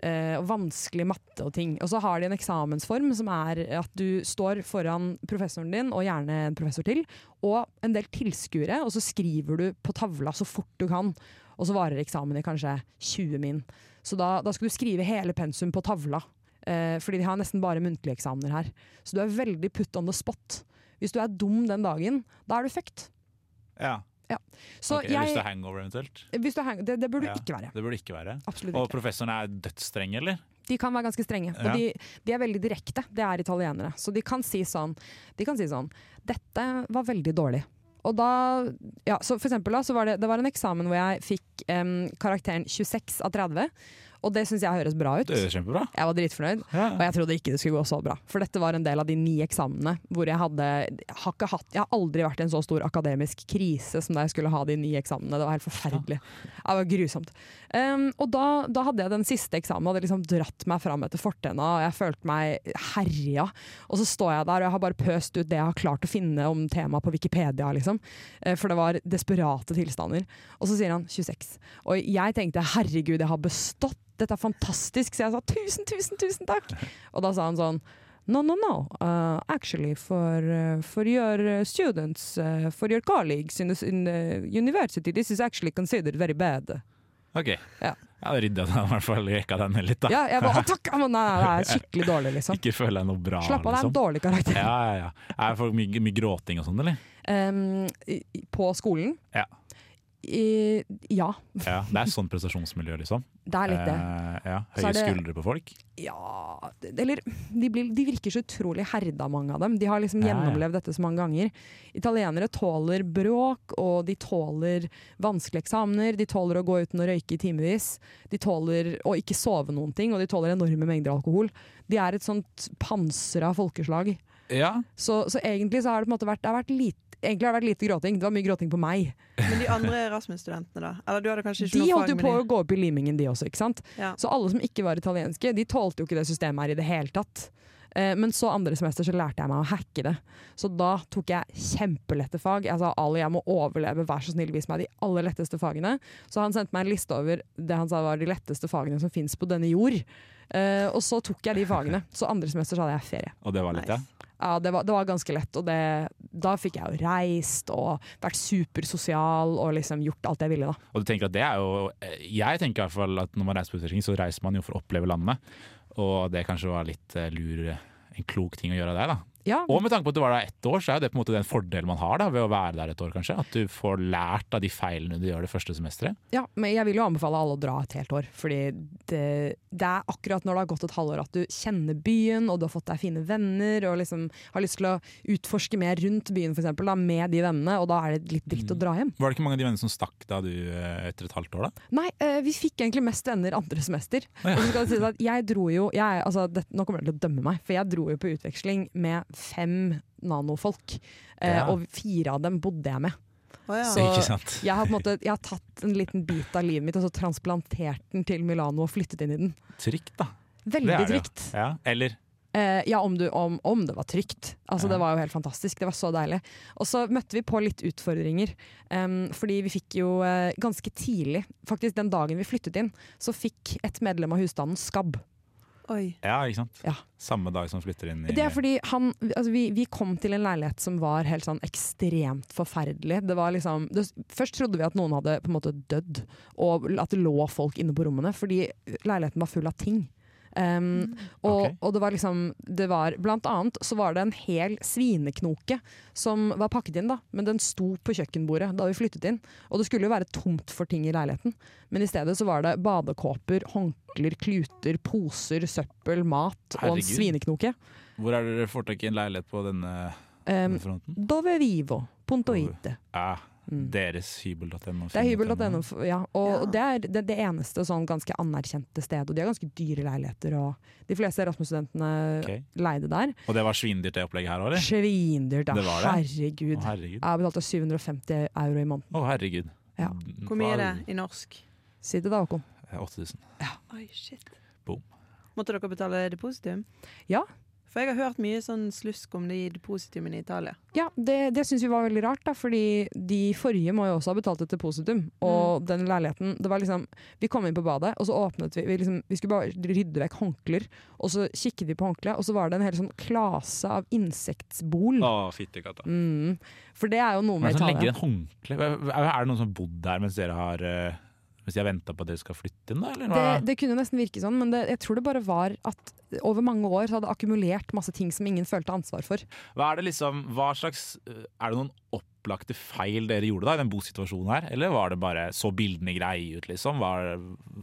Speaker 3: eh, Og vanskelig matte og ting. Og så har de en eksamensform som er at du står foran professoren din, og gjerne en professor til, og en del tilskuere, og så skriver du på tavla så fort du kan. Og så varer eksamen i kanskje 20 min. Så da, da skal du skrive hele pensum på tavla. Eh, fordi de har nesten bare muntlige eksamener her. Så du er veldig put on the spot. Hvis du er dum den dagen, da er du fucked.
Speaker 1: Ja.
Speaker 3: Så
Speaker 1: Ok, Hvis det
Speaker 3: jeg
Speaker 1: er hangover, eventuelt.
Speaker 3: hvis du hang, det, det burde
Speaker 1: Ja.
Speaker 3: du ikke være.
Speaker 1: Det burde det ikke være.
Speaker 3: Absolutt
Speaker 1: Og
Speaker 3: ikke.
Speaker 1: professoren er dødsstreng, eller?
Speaker 3: De kan være ganske strenge.
Speaker 1: Ja.
Speaker 3: Og de, de er veldig direkte. Det er italienere. Så de kan si sånn, de kan si sånn Dette var veldig dårlig. Og da, ja, så for eksempel da, så var det, det var en eksamen hvor jeg fikk em, karakteren 26 av 30. Og det syns jeg høres bra ut.
Speaker 1: Det er kjempebra.
Speaker 3: Jeg var dritfornøyd, og jeg trodde ikke det skulle gå så bra. For dette var en del av de ni eksamene hvor jeg hadde jeg har, ikke hatt, jeg har aldri vært i en så stor akademisk krise som da jeg skulle ha de ni eksamene. Det var helt forferdelig. Ja, Det var grusomt. Um, og da, da hadde jeg den siste eksamen, hadde liksom dratt meg fram etter fortenna, og jeg følte meg herja. Og så står jeg der, og jeg har bare pøst ut det jeg har klart å finne om temaet på Wikipedia, liksom. Eh, For det var desperate tilstander. Og så sier han 26. Og jeg tenkte herregud, jeg har bestått, dette er fantastisk. Så jeg sa tusen, tusen, tusen takk. Og da sa han sånn No, no, no. Uh, actually, for, uh, for your uh, students, uh, for your colleagues in, the, in the university, this is actually considered very bad.
Speaker 1: Ok.
Speaker 3: Ja.
Speaker 1: Ja, da rydda den i hvert fall jekka den ned litt, da.
Speaker 3: Ja, jeg bare, å takk! Å, Nei, nei, det er skikkelig dårlig, liksom.
Speaker 1: Ah. Ikke føler jeg noe bra,
Speaker 3: Slapp av, det er en
Speaker 1: liksom.
Speaker 3: dårlig karakter.
Speaker 1: Ja, ja, ja. Er det for mye, mye gråting og sånn, eller?
Speaker 3: Um, i- i- på skolen.
Speaker 1: Ja.
Speaker 3: i, ja,
Speaker 1: Ja, det er sånn prestasjonsmiljø, liksom.
Speaker 3: det er litt det.
Speaker 1: Eh, ja,
Speaker 3: Så
Speaker 1: høye
Speaker 3: er det-
Speaker 1: skuldre på folk.
Speaker 3: Ja det- Eller de, blir, de virker så utrolig herda, mange av dem. De har liksom
Speaker 1: Ja, ja.
Speaker 3: gjennomlevd dette så mange ganger. Italienere tåler bråk, og de tåler vanskelige eksamener. De tåler å gå uten å røyke i timevis. De tåler å ikke sove noen ting, og de tåler enorme mengder alkohol. De er et sånt pansra folkeslag.
Speaker 1: Ja,
Speaker 3: Så, så egentlig så har det på en måte vært, det har vært lite Egentlig har det vært lite gråting. Det var mye gråting på meg.
Speaker 2: Men de andre Erasmus-studentene, da? Eller du hadde kanskje ikke
Speaker 3: De
Speaker 2: noe fag
Speaker 3: holdt jo
Speaker 2: med
Speaker 3: på å
Speaker 2: de?
Speaker 3: gå opp i limingen, de også. ikke sant?
Speaker 2: Ja.
Speaker 3: Så alle som ikke var italienske, de tålte jo ikke det systemet her i det hele tatt. Eh, Men så andre semester så lærte jeg meg å hacke det. Så da tok jeg kjempelette fag. Jeg sa Ali, jeg må overleve, vær så snill, vis meg de aller letteste fagene. Så han sendte meg en liste over det han sa var de letteste fagene som fins på denne jord. Eh, og så tok jeg de fagene. Så andre semester så hadde jeg ferie.
Speaker 1: og det var litt, ja.
Speaker 2: Nice.
Speaker 3: Ja, det var, det var ganske lett, og det, da fikk jeg jo reist og vært supersosial og liksom gjort alt jeg ville, da.
Speaker 1: Og du tenker at det er jo eh, Jeg tenker i hvert fall at når man reiser på utveksling, så reiser man jo for å oppleve landet. Og det kanskje var litt eh, lur en klok ting å gjøre der, da.
Speaker 3: Ja,
Speaker 1: Og med tanke på at du var der ett år, så er jo det på en måte den fordelen man har da ved å være der et år, kanskje. At du får lært av de feilene du gjør det første semesteret.
Speaker 3: Ja, men jeg vil jo anbefale alle å dra et helt år. Fordi det, det er akkurat når det har gått et halvår at du kjenner byen, og du har fått deg fine venner, og liksom har lyst til å utforske mer rundt byen for eksempel, da, med de vennene, og da er det litt
Speaker 1: Mm.
Speaker 3: dritt å dra hjem.
Speaker 1: Var det ikke mange av de vennene som stakk da du eh, etter et halvt år, da?
Speaker 3: Nei, eh, vi fikk egentlig mest venner andre semester.
Speaker 1: Å, ja.
Speaker 3: Og så skal det sies at jeg dro jo jeg, altså, det, Nå kommer dere til å dømme meg, for jeg dro jo på utveksling med fem nanofolk. eh,
Speaker 1: Ja.
Speaker 3: Og fire av dem bodde jeg med.
Speaker 2: Å, ja.
Speaker 3: Så-
Speaker 1: Ikke sant?
Speaker 3: Jeg har, på en måte, jeg har tatt en liten bit av livet mitt og så transplantert den til Milano og flyttet inn i den.
Speaker 1: Trygt, da. Det
Speaker 3: Veldig
Speaker 1: er det jo.
Speaker 3: trygt.
Speaker 1: Ja. Eller
Speaker 3: Eh, ja, om, du, om, om det var trygt. Altså,
Speaker 1: Ja.
Speaker 3: Det var jo helt fantastisk. Det var så deilig. Og så møtte vi på litt utfordringer. em, fordi vi fikk jo eh, ganske tidlig, faktisk den dagen vi flyttet inn, så fikk et medlem av husstanden skabb.
Speaker 2: Oi.
Speaker 1: Ja, ikke sant.
Speaker 3: Ja.
Speaker 1: Samme dag som flytter inn i
Speaker 3: Det er fordi han, altså vi, vi kom til en leilighet som var helt sånn ekstremt forferdelig. Det var liksom, det, først trodde vi at noen hadde på en måte dødd, og at det lå folk inne på rommene, fordi leiligheten var full av ting. Um, og,
Speaker 1: Mm. Ok.
Speaker 3: og det var liksom det var, Blant annet så var det en hel svineknoke som var pakket inn, da, men den sto på kjøkkenbordet da vi flyttet inn. Og det skulle jo være tomt for ting i leiligheten, men i stedet så var det badekåper, håndklær, kluter, poser, søppel, mat og en
Speaker 1: Herregud.
Speaker 3: svineknoke.
Speaker 1: Hvor er dere får tak i en leilighet på denne,
Speaker 3: Um,
Speaker 1: denne fronten?
Speaker 3: Dove vivo, punto
Speaker 1: Mm. Dove.
Speaker 3: ite.
Speaker 1: Ja,
Speaker 3: Mm.
Speaker 1: deres hybel.no.
Speaker 3: Det er hybel.no, f- ja.
Speaker 2: Ja.
Speaker 3: Og det er det, det eneste sånn ganske anerkjente stedet. Og de har ganske dyre leiligheter, og de fleste Erasmus-studentene
Speaker 1: Ok.
Speaker 3: leide der.
Speaker 1: Og det var svindyrt det opplegget her òg, eller?
Speaker 3: Svindyrt, da.
Speaker 1: Det var det?
Speaker 3: Herregud.
Speaker 1: Å, herregud.
Speaker 3: Jeg betalte 750 euro i måneden.
Speaker 1: Å, herregud.
Speaker 3: Ja.
Speaker 2: Hvor mye er det i norsk?
Speaker 3: Si det da, Håkon.
Speaker 1: 8000.
Speaker 2: Oi, shit.
Speaker 1: Boom.
Speaker 2: Måtte dere betale depositum?
Speaker 3: Ja.
Speaker 2: For jeg har hørt mye sånn slusk om de depositumene i Italia.
Speaker 3: Ja, det, det syns vi var veldig rart, da, fordi de forrige må jo også ha betalt et depositum.
Speaker 1: Mm.
Speaker 3: Og den leiligheten det var liksom, Vi kom inn på badet, og så åpnet vi Vi, liksom, vi skulle bare rydde vekk håndklær. Og så kikket vi på håndkleet, og så var det en hel sånn klase av insektbol.
Speaker 1: Å, fyttekatta.
Speaker 3: Mm. For det er jo noe
Speaker 1: Hvem er
Speaker 3: med
Speaker 1: det som legger
Speaker 3: Italia.
Speaker 1: igjen håndkle? Er er det noen som har bodd der mens dere har eh, Mens de har venta på at dere skal flytte inn, da? Eller
Speaker 3: Det,
Speaker 1: hva?
Speaker 3: det kunne nesten virke sånn, men det, jeg tror det bare var at over mange år så hadde det akkumulert masse ting som ingen følte ansvar for.
Speaker 1: hva er det liksom hva slags, eh, Er det noen opplagte feil dere gjorde da i den bosituasjonen her? Eller var det bare så bildene greie ut, liksom? Var,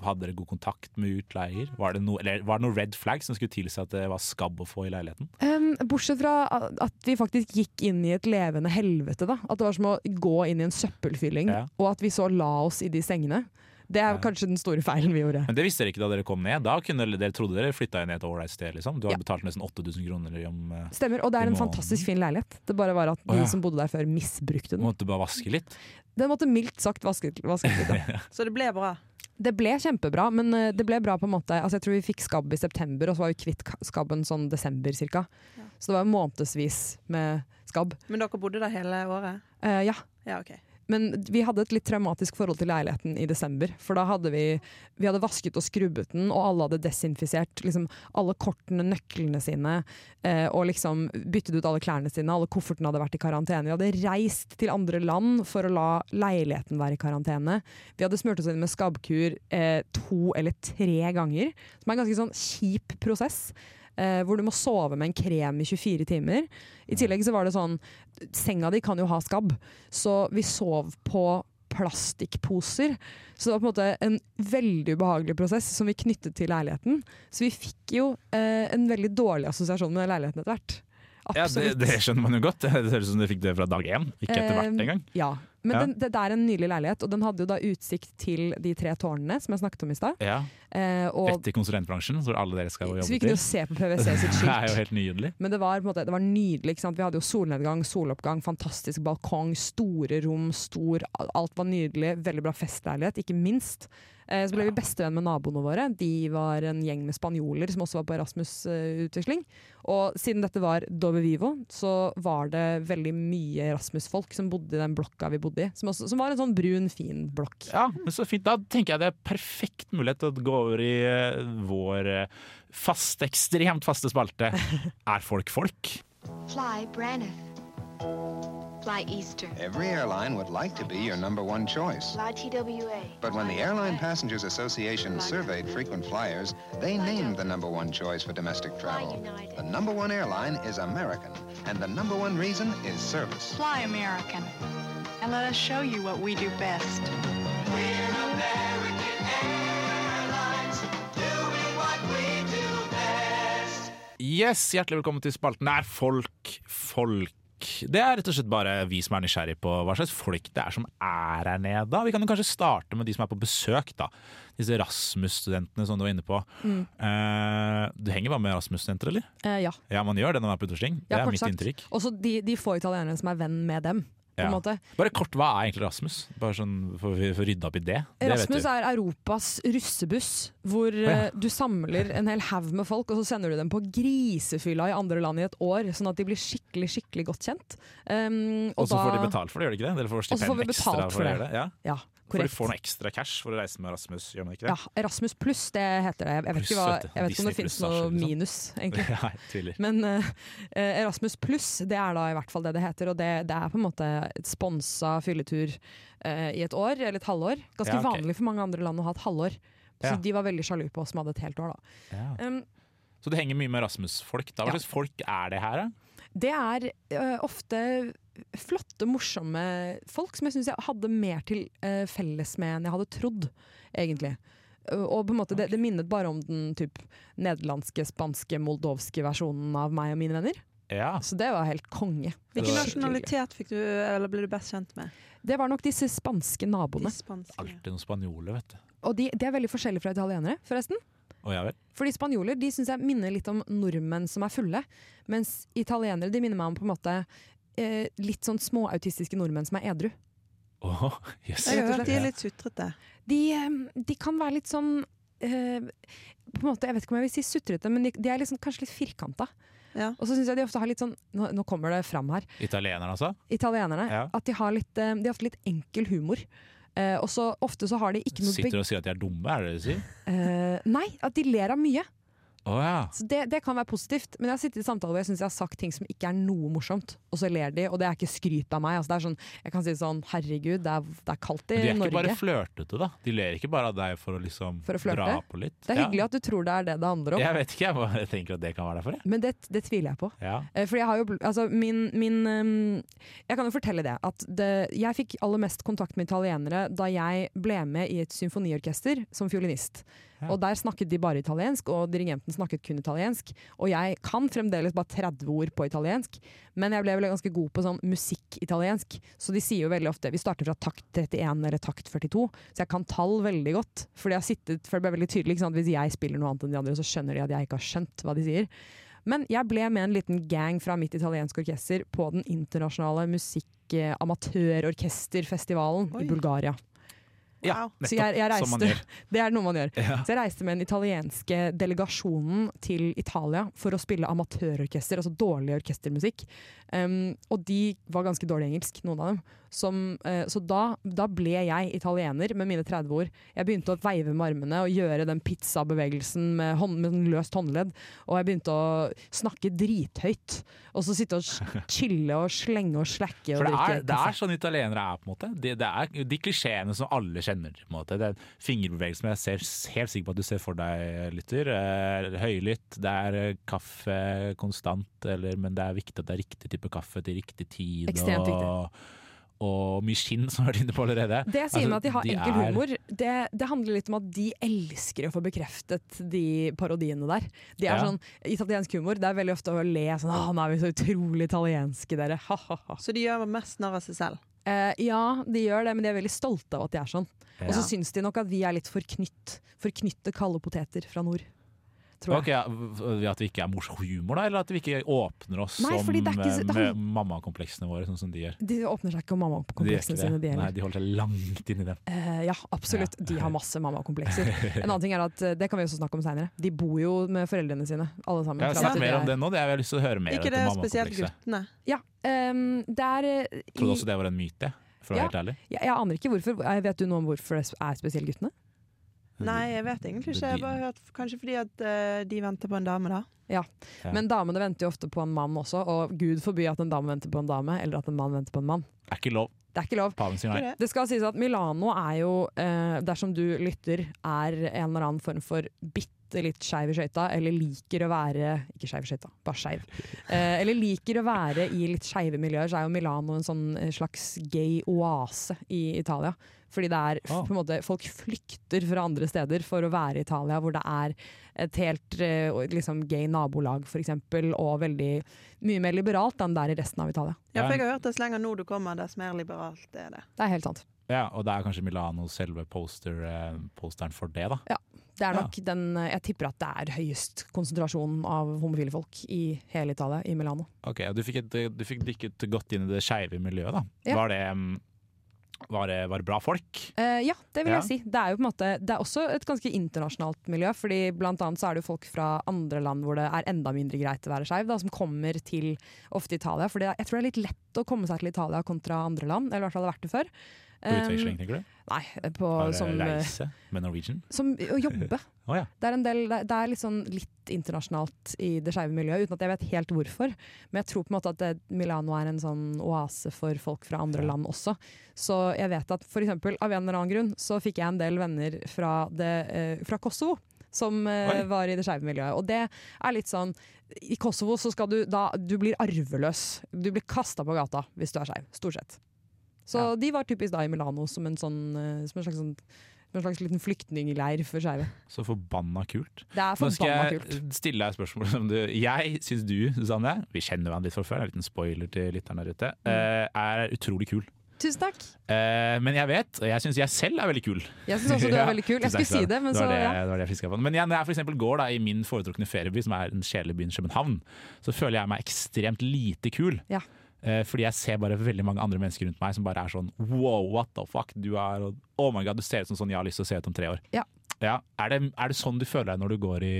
Speaker 1: hadde dere god kontakt med utleier? Var det, noe- eller, var det noen red flag som skulle tilsi at det var skabb å få i leiligheten?
Speaker 3: Ehm, bortsett fra a- at vi faktisk gikk inn i et levende helvete. Da. At det var som å gå inn i en søppelfylling,
Speaker 1: Ja.
Speaker 3: og at vi så la oss i de sengene. Det er
Speaker 1: Ja.
Speaker 3: kanskje den store feilen vi gjorde.
Speaker 1: Men det visste dere ikke da dere kom ned. Da kunne dere, dere trodde dere flytta ned et ålreit sted, liksom. Du har
Speaker 3: Ja.
Speaker 1: betalt nesten 8000 kroner i om eh,
Speaker 3: Stemmer, Og det er
Speaker 1: I
Speaker 3: en
Speaker 1: måneden.
Speaker 3: fantastisk fin leilighet. Det bare var at de
Speaker 1: Å, ja.
Speaker 3: som bodde der før, misbrukte den.
Speaker 1: Måtte bare vaske litt.
Speaker 3: Den måtte mildt sagt vasket, vasket litt. Da.
Speaker 2: Så det ble bra.
Speaker 3: Det ble kjempebra, men eh, det ble bra på en måte altså, Jeg tror vi fikk skabb i september, og så var vi kvitt ka- skabben sånn desember ca. Så det var månedsvis med skabb.
Speaker 2: Men dere bodde der hele året?
Speaker 3: Eh, ja,
Speaker 2: Ja, OK.
Speaker 3: Men vi hadde et litt traumatisk forhold til leiligheten i desember. For da hadde vi, vi hadde vasket og skrubbet den, og alle hadde desinfisert liksom, alle kortene, nøklene sine. Eh, og liksom byttet ut alle klærne sine. Alle koffertene hadde vært i karantene. Vi hadde reist til andre land for å la leiligheten være i karantene. Vi hadde smurt oss inn med skabbkur eh, to eller tre ganger. Som er en ganske sånn kjip prosess. Eh, hvor du må sove med en krem i 24 timer. I tillegg så var det sånn Senga di kan jo ha skabb. Så vi sov på plastikkposer. Så det var på en måte en veldig ubehagelig prosess som vi knyttet til leiligheten. Så vi fikk jo eh, en veldig dårlig assosiasjon med leiligheten etter hvert.
Speaker 1: Ja, det,
Speaker 3: Absolutt.
Speaker 1: det skjønner man jo godt. Det høres ut som du fikk det fra dag én, ikke etter hvert
Speaker 3: Eh,
Speaker 1: engang.
Speaker 3: Ja. Men
Speaker 1: Ja.
Speaker 3: Den, det, det er en nylig leilighet, og den hadde jo da utsikt til de tre tårnene som jeg snakket om i stad.
Speaker 1: Ja,
Speaker 3: Eh, og-
Speaker 1: rett i konsulentbransjen, hvor alle dere skal
Speaker 3: så
Speaker 1: jobbe
Speaker 3: vi
Speaker 1: til.
Speaker 3: kunne jo se på PwC sitt
Speaker 1: Det er jo
Speaker 3: skilt.
Speaker 1: helt nydelig.
Speaker 3: Men det var, på en måte, det var nydelig. Ikke sant? Vi hadde jo solnedgang, soloppgang, fantastisk balkong, store rom, stor Alt var nydelig. Veldig bra festleilighet, ikke minst. Eh, så ble vi bestevenn med naboene våre. De var en gjeng med spanjoler som også var på Erasmus-utveksling. Og siden dette var Dove Vivo, så var det veldig mye Erasmus-folk som bodde i den blokka vi bodde i. Som, også, som var en sånn brun, fin blokk.
Speaker 1: Ja, men så fint. Da tenker jeg det er perfekt mulighet til å gå over i eh, vår eh, faste, ekstremt faste spalte. Er folk folk?
Speaker 5: Fly Braniff. Fly Easter.
Speaker 6: Every airline would like to be your number one choice.
Speaker 5: Fly TWA.
Speaker 6: But when the Airline Passengers Association surveyed frequent flyers, they named the number one choice for domestic travel. The number one airline is American, and the number one reason is service.
Speaker 7: Fly American. And let us show you what we do best.
Speaker 1: Yes, hjertelig velkommen til spalten Er folk folk? Det er rett og slett bare vi som er nysgjerrig på hva slags folk det er som er her nede. da. Vi kan jo kanskje starte med de som er på besøk, da. Disse Rasmus-studentene som du var inne på. Eh, du henger bare med Rasmus-studenter, eller?
Speaker 3: Eh, ja.
Speaker 1: Ja, man gjør det når man er på utersting. Det
Speaker 3: Ja,
Speaker 1: er
Speaker 3: kort
Speaker 1: mitt
Speaker 3: sagt.
Speaker 1: inntrykk.
Speaker 3: Også de, de få italienerne som er venn med dem. På en
Speaker 1: Ja.
Speaker 3: måte.
Speaker 1: Bare kort, hva er egentlig Rasmus? Bare sånn, for vi får rydde opp i det. Det vet
Speaker 3: Rasmus
Speaker 1: du.
Speaker 3: er Europas russebuss, hvor
Speaker 1: ja.
Speaker 3: eh, du samler en hel haug med folk, og så sender du dem på grisefylla i andre land i et år, sånn at de blir skikkelig skikkelig godt kjent. Um,
Speaker 1: Og så
Speaker 3: da-
Speaker 1: får de betalt for det, gjør de ikke det? Eller får
Speaker 3: Og så får
Speaker 1: stipend
Speaker 3: vi
Speaker 1: ekstra
Speaker 3: betalt
Speaker 1: for å
Speaker 3: for
Speaker 1: gjøre
Speaker 3: det.
Speaker 1: det? Ja.
Speaker 3: Ja,
Speaker 1: For de
Speaker 3: korrekt.
Speaker 1: får noe ekstra cash for å reise med Rasmus, gjør man ikke
Speaker 3: Ja,
Speaker 1: det?
Speaker 3: Erasmus pluss, det heter det. Jeg vet
Speaker 1: Pluss,
Speaker 3: ikke, hva,
Speaker 1: vet du.
Speaker 3: jeg vet ikke om
Speaker 1: Disney
Speaker 3: det finnes
Speaker 1: pluss,
Speaker 3: noe
Speaker 1: kanskje, liksom.
Speaker 3: minus, egentlig.
Speaker 1: Nei, tviler.
Speaker 3: Men eh, eh, Erasmus pluss, det er da i hvert fall det det heter. Og det, det er på en måte et sponsa fylletur eh, i et år, eller et halvår. Ganske
Speaker 1: Ja, ok.
Speaker 3: vanlig for mange andre land å ha et halvår.
Speaker 1: Ja.
Speaker 3: Så de var veldig sjalu på oss som hadde et helt år, da.
Speaker 1: Ja.
Speaker 3: Um,
Speaker 1: Så det henger mye med Rasmus-folk. da.
Speaker 3: Ja.
Speaker 1: Hva slags folk er det her, da?
Speaker 3: det er eh, ofte flotte, morsomme folk som jeg syns jeg hadde mer til eh, felles med enn jeg hadde trodd, egentlig. Eh, Og på en måte, det, det minnet bare om den typ, nederlandske, spanske, moldovske versjonen av meg og mine venner.
Speaker 1: Ja.
Speaker 3: Så det var helt konge.
Speaker 1: Det
Speaker 2: Hvilken
Speaker 1: var-
Speaker 2: nasjonalitet fikk du, eller ble du best kjent med?
Speaker 3: Det var nok disse spanske
Speaker 2: De
Speaker 3: naboene.
Speaker 2: spanske.
Speaker 1: Alltid noen spanjoler, vet du.
Speaker 3: Og de, de er veldig forskjellige fra italienere, forresten.
Speaker 1: Å ja vel.
Speaker 3: Fordi spanjoler de synes jeg minner litt om nordmenn som er fulle. Mens italienere de minner meg om på en måte eh, litt sånn småautistiske nordmenn som er edru.
Speaker 1: Åh, jøss.
Speaker 2: Jeg har hørt de
Speaker 1: Ja.
Speaker 2: er litt sutrete.
Speaker 3: De, eh, de kan være litt sånn eh, på en måte, Jeg vet ikke om jeg vil si sutrete, men de, de er liksom, kanskje litt firkanta.
Speaker 2: Ja.
Speaker 3: Og så syns jeg de ofte har litt sånn Nå, nå kommer det fram her.
Speaker 1: Italienerne, altså?
Speaker 3: Italienerne.
Speaker 1: Ja.
Speaker 3: At de har litt eh, De har ofte litt enkel humor. Eh, og så ofte så har de ikke noe
Speaker 1: Sitter og sier at de er dumme, er det det du sier?
Speaker 3: beg- eh, Nei, at de ler av mye.
Speaker 1: Å ja.
Speaker 3: Så det, det kan være positivt, men jeg har sittet i samtaler hvor jeg synes jeg har sagt ting som ikke er noe morsomt, og så ler de, og det er ikke skryt av meg. Altså, det er sånn, jeg kan si sånn, herregud, det er, det er kaldt i
Speaker 1: Men de er ikke
Speaker 3: Norge.
Speaker 1: bare flørtete, da. De ler ikke bare av deg for å liksom
Speaker 3: For å flørte?
Speaker 1: dra på litt.
Speaker 3: det er hyggelig at du tror det er det det handler om,
Speaker 1: Jeg vet ikke, jeg bare tenker at det kan være derfor. jeg.
Speaker 3: men det, det tviler jeg på.
Speaker 1: Ja.
Speaker 3: Eh, Fordi jeg har jo, bl- altså min, min ehm, Jeg kan jo fortelle det at det, jeg fikk aller mest kontakt med italienere da jeg ble med i et symfoniorkester som fiolinist.
Speaker 1: Ja.
Speaker 3: Og der snakket de bare italiensk, og dirigenten snakket kun italiensk. Og jeg kan fremdeles bare 30 ord på italiensk, men jeg ble vel ganske god på sånn musikkitaliensk. Så de sier jo veldig ofte Vi starter fra takt 31 eller takt 42, så jeg kan tall veldig godt. Fordi jeg har sittet, for det ble veldig tydelig ikke sant? Hvis jeg spiller noe annet enn de andre, så skjønner de at jeg ikke har skjønt hva de sier. Men jeg ble med en liten gang fra mitt italienske orkester på den internasjonale musikkamatørorkesterfestivalen
Speaker 2: Oi.
Speaker 3: i
Speaker 1: Ja,
Speaker 3: Bulgaria.
Speaker 2: Wow.
Speaker 3: Så jeg, jeg
Speaker 1: nettopp, som man
Speaker 3: reiste,
Speaker 1: gjør.
Speaker 3: det er noe man gjør.
Speaker 1: Ja.
Speaker 3: Så jeg reiste med den italienske delegasjonen til Italia for å spille amatørorkester, altså dårlig orkestermusikk. Um, og de var ganske dårlig engelsk, noen av dem. Som, eh, så da, da ble jeg italiener med mine 30 ord. Jeg begynte å veive med armene og gjøre den pizzabevegelsen med, hånd, med sånn løst håndledd. Og jeg begynte å snakke drithøyt. Og så sitte og s- chille og slenge og slakke
Speaker 1: For
Speaker 3: og
Speaker 1: det
Speaker 3: drikke
Speaker 1: er, det
Speaker 3: kaffe.
Speaker 1: er sånn italienere er, på en måte. De, det er de klisjeene som alle kjenner. på en måte. Det er Fingerbevegelsen jeg ser helt sikker på at du ser for deg, lytter. Eh, høylytt. Det er eh, kaffe konstant, eller, men det er viktig at det er riktig type kaffe til riktig tid.
Speaker 3: Ekstremt
Speaker 1: og, og mye skinn, som vi har vært inne på allerede.
Speaker 3: Det sier
Speaker 1: Altså,
Speaker 3: meg at de har
Speaker 1: de
Speaker 3: enkel
Speaker 1: er-
Speaker 3: humor. Det, det handler litt om at de elsker å få bekreftet de parodiene der. De er
Speaker 1: Ja.
Speaker 3: sånn, Italiensk humor det er veldig ofte å le sånn 'Å, nå er vi så utrolig italienske, dere'. Ha, ha, ha.
Speaker 2: Så de gjør mest narr av seg selv.
Speaker 3: Eh, ja, de gjør det, men de er veldig stolte av at de er sånn. Og
Speaker 1: Ja.
Speaker 3: så syns de nok at vi er litt forknytt. Forknytte kalde poteter fra nord. Tror
Speaker 1: Ok,
Speaker 3: jeg.
Speaker 1: ja, v- At vi ikke er mors humor, da? Eller at vi ikke åpner oss
Speaker 3: Nei,
Speaker 1: som
Speaker 3: fordi det er ikke
Speaker 1: eh,
Speaker 3: så- det
Speaker 1: med
Speaker 3: handler-
Speaker 1: mammakompleksene våre, sånn som de gjør.
Speaker 3: De åpner seg ikke om
Speaker 1: De gjør ikke
Speaker 3: mammakompleksene
Speaker 1: det.
Speaker 3: sine, de
Speaker 1: Nei,
Speaker 3: heller.
Speaker 1: de holder seg langt inni dem.
Speaker 3: Eh, ja, absolutt. De har masse mammakomplekser. En annen ting er at, eh, det kan vi også snakke om seinere, de bor jo med foreldrene sine, alle sammen.
Speaker 1: Jeg har
Speaker 3: fram
Speaker 1: snakket
Speaker 3: til de
Speaker 1: mer om
Speaker 3: er-
Speaker 1: det nå, det har jeg lyst til å høre mer
Speaker 2: Ikke
Speaker 1: om.
Speaker 2: det
Speaker 1: dette
Speaker 2: spesielt
Speaker 1: mammakomplekset.
Speaker 2: guttene.
Speaker 3: Ja, ehm, det er eh, i-
Speaker 1: Trodde også det var en myte, for å være
Speaker 3: Ja.
Speaker 1: helt ærlig.
Speaker 3: jeg, jeg aner ikke hvorfor. Eh, Vet du noe om hvorfor det er spesielt guttene?
Speaker 2: Nei, jeg vet egentlig ikke. Jeg bare hørt, kanskje fordi at eh, de venter på en dame, da.
Speaker 3: Ja.
Speaker 1: Ja.
Speaker 3: Men damene venter jo ofte på en mann også, og gud forby at en dame venter på en dame, eller at en mann venter på en mann.
Speaker 1: Er ikke lov.
Speaker 3: Det er ikke lov.
Speaker 1: Paven sier nei.
Speaker 2: Ikke det?
Speaker 3: Det skal sies at Milano er jo, eh, dersom du lytter, er en eller annen form for bitte litt skeiv i skøyta, eller liker å være Ikke skeiv i skøyta, bare skeiv. Eh, eller liker å være i litt skeive miljøer, så er jo Milano en sånn eh, slags gay oase i Italia. Fordi det er f-
Speaker 1: Ah.
Speaker 3: på en måte Folk flykter fra andre steder for å være i Italia, hvor det er et helt eh, liksom gay nabolag, f.eks., og veldig mye mer liberalt enn det er i resten av Italia.
Speaker 2: Ja, for
Speaker 1: Ja.
Speaker 2: jeg har hørt at så lenger nord du kommer, dess mer liberalt er det.
Speaker 3: Det er helt sant.
Speaker 1: Ja, og det er kanskje Milano selve poster, eh, posteren for det, da.
Speaker 3: Det er
Speaker 1: Ja.
Speaker 3: nok den, eh, jeg tipper at det er høyest konsentrasjon av homofile folk i hele Italia, i Milano.
Speaker 1: Ok, og Du fikk, et, eh, du fikk dykket godt inn i det skeive miljøet, da.
Speaker 3: Ja.
Speaker 1: Var, det, mm, var, det, var det bra folk?
Speaker 3: Eh, ja, det vil
Speaker 1: Ja.
Speaker 3: jeg si. Det er jo på en måte, det er også et ganske internasjonalt miljø, fordi blant annet så er det jo folk fra andre land hvor det er enda mindre greit å være skeiv, da, som kommer til ofte Italia. For jeg tror det er litt lett å komme seg til Italia kontra andre land, eller i hvert fall har vært det før. Ehm,
Speaker 1: På utveksling, tenker du?
Speaker 3: Nei, på, sånn,
Speaker 1: Var det
Speaker 3: som, eh,
Speaker 1: reise med Norwegian?
Speaker 3: som å jobbe.
Speaker 1: Å ja.
Speaker 3: Det er, en del, det det er litt, sånn litt internasjonalt i det skeive miljøet, uten at jeg vet helt hvorfor. Men jeg tror på en måte at det, Milano er en sånn oase for folk fra andre
Speaker 1: Ja.
Speaker 3: land også. Så jeg vet at for eksempel, av en eller annen grunn så fikk jeg en del venner fra, det, eh, fra Kosovo. Som eh,
Speaker 1: Oi.
Speaker 3: var i det skeive miljøet. Og det er litt sånn I Kosovo så skal du da Du blir arveløs. Du blir kasta på gata hvis du er skeiv. Stort sett. Så
Speaker 1: Ja.
Speaker 3: de var typisk da i Milano som en, sånn, eh, som en, slags, sånn, som en slags liten flyktningleir for skeive.
Speaker 1: Så forbanna kult.
Speaker 3: Det er
Speaker 1: Nå skal
Speaker 3: forbanna
Speaker 1: jeg
Speaker 3: kult.
Speaker 1: stille deg et spørsmål som du Jeg syns du, Susanne, vi kjenner hverandre litt fra før, det er en liten spoiler til lytterne der ute,
Speaker 3: Mm.
Speaker 1: eh, er utrolig kul.
Speaker 3: Tusen takk.
Speaker 1: Eh, men jeg vet, og jeg syns jeg selv er veldig kul.
Speaker 3: Jeg syns også du
Speaker 1: Ja,
Speaker 3: er veldig kul. Jeg
Speaker 1: tusen takk
Speaker 3: skulle si
Speaker 1: skal du ha.
Speaker 3: det, men
Speaker 1: det
Speaker 3: så
Speaker 1: var det,
Speaker 3: ja.
Speaker 1: det, var det jeg fisket på. Men jeg, når jeg for eksempel går da, i min foretrukne ferieby, som er den sjelebyen København, så føler jeg meg ekstremt lite kul.
Speaker 3: Ja.
Speaker 1: Eh, fordi jeg ser bare veldig mange andre mennesker rundt meg som bare er sånn wow, what the fuck, du er og, oh my god, du ser ut som sånn jeg har lyst til å se ut om tre år.
Speaker 3: Ja.
Speaker 1: Ja. Er, det, er det sånn du føler deg når du går i,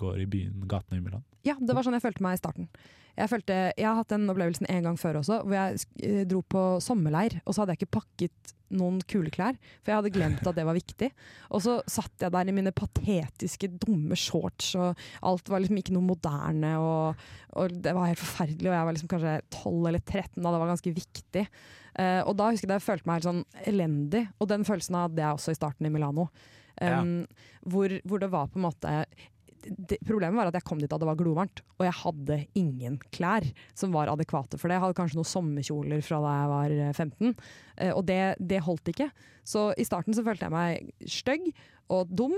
Speaker 1: går i byen, gatene i Milan?
Speaker 3: ja, det var sånn jeg følte meg i starten. Jeg, følte, jeg har hatt den opplevelsen en gang før også, hvor jeg sk- eh, dro på sommerleir, og så hadde jeg ikke pakket noen kule klær, for jeg hadde glemt at det var viktig. Og så satt jeg der i mine patetiske, dumme shorts, og alt var liksom ikke noe moderne, og, og det var helt forferdelig, og jeg var liksom kanskje 12 eller 13 da, det var ganske viktig. Eh, og da husker jeg at jeg følte meg helt sånn elendig, og den følelsen hadde jeg også i starten i Milano. Um, hvor, hvor det var på en måte det, Problemet var at jeg kom dit da det var glovarmt, og jeg hadde ingen klær som var adekvate for det. Jeg hadde kanskje noen sommerkjoler fra da jeg var eh, 15, eh, og det, det holdt ikke. Så i starten så følte jeg meg stygg og dum,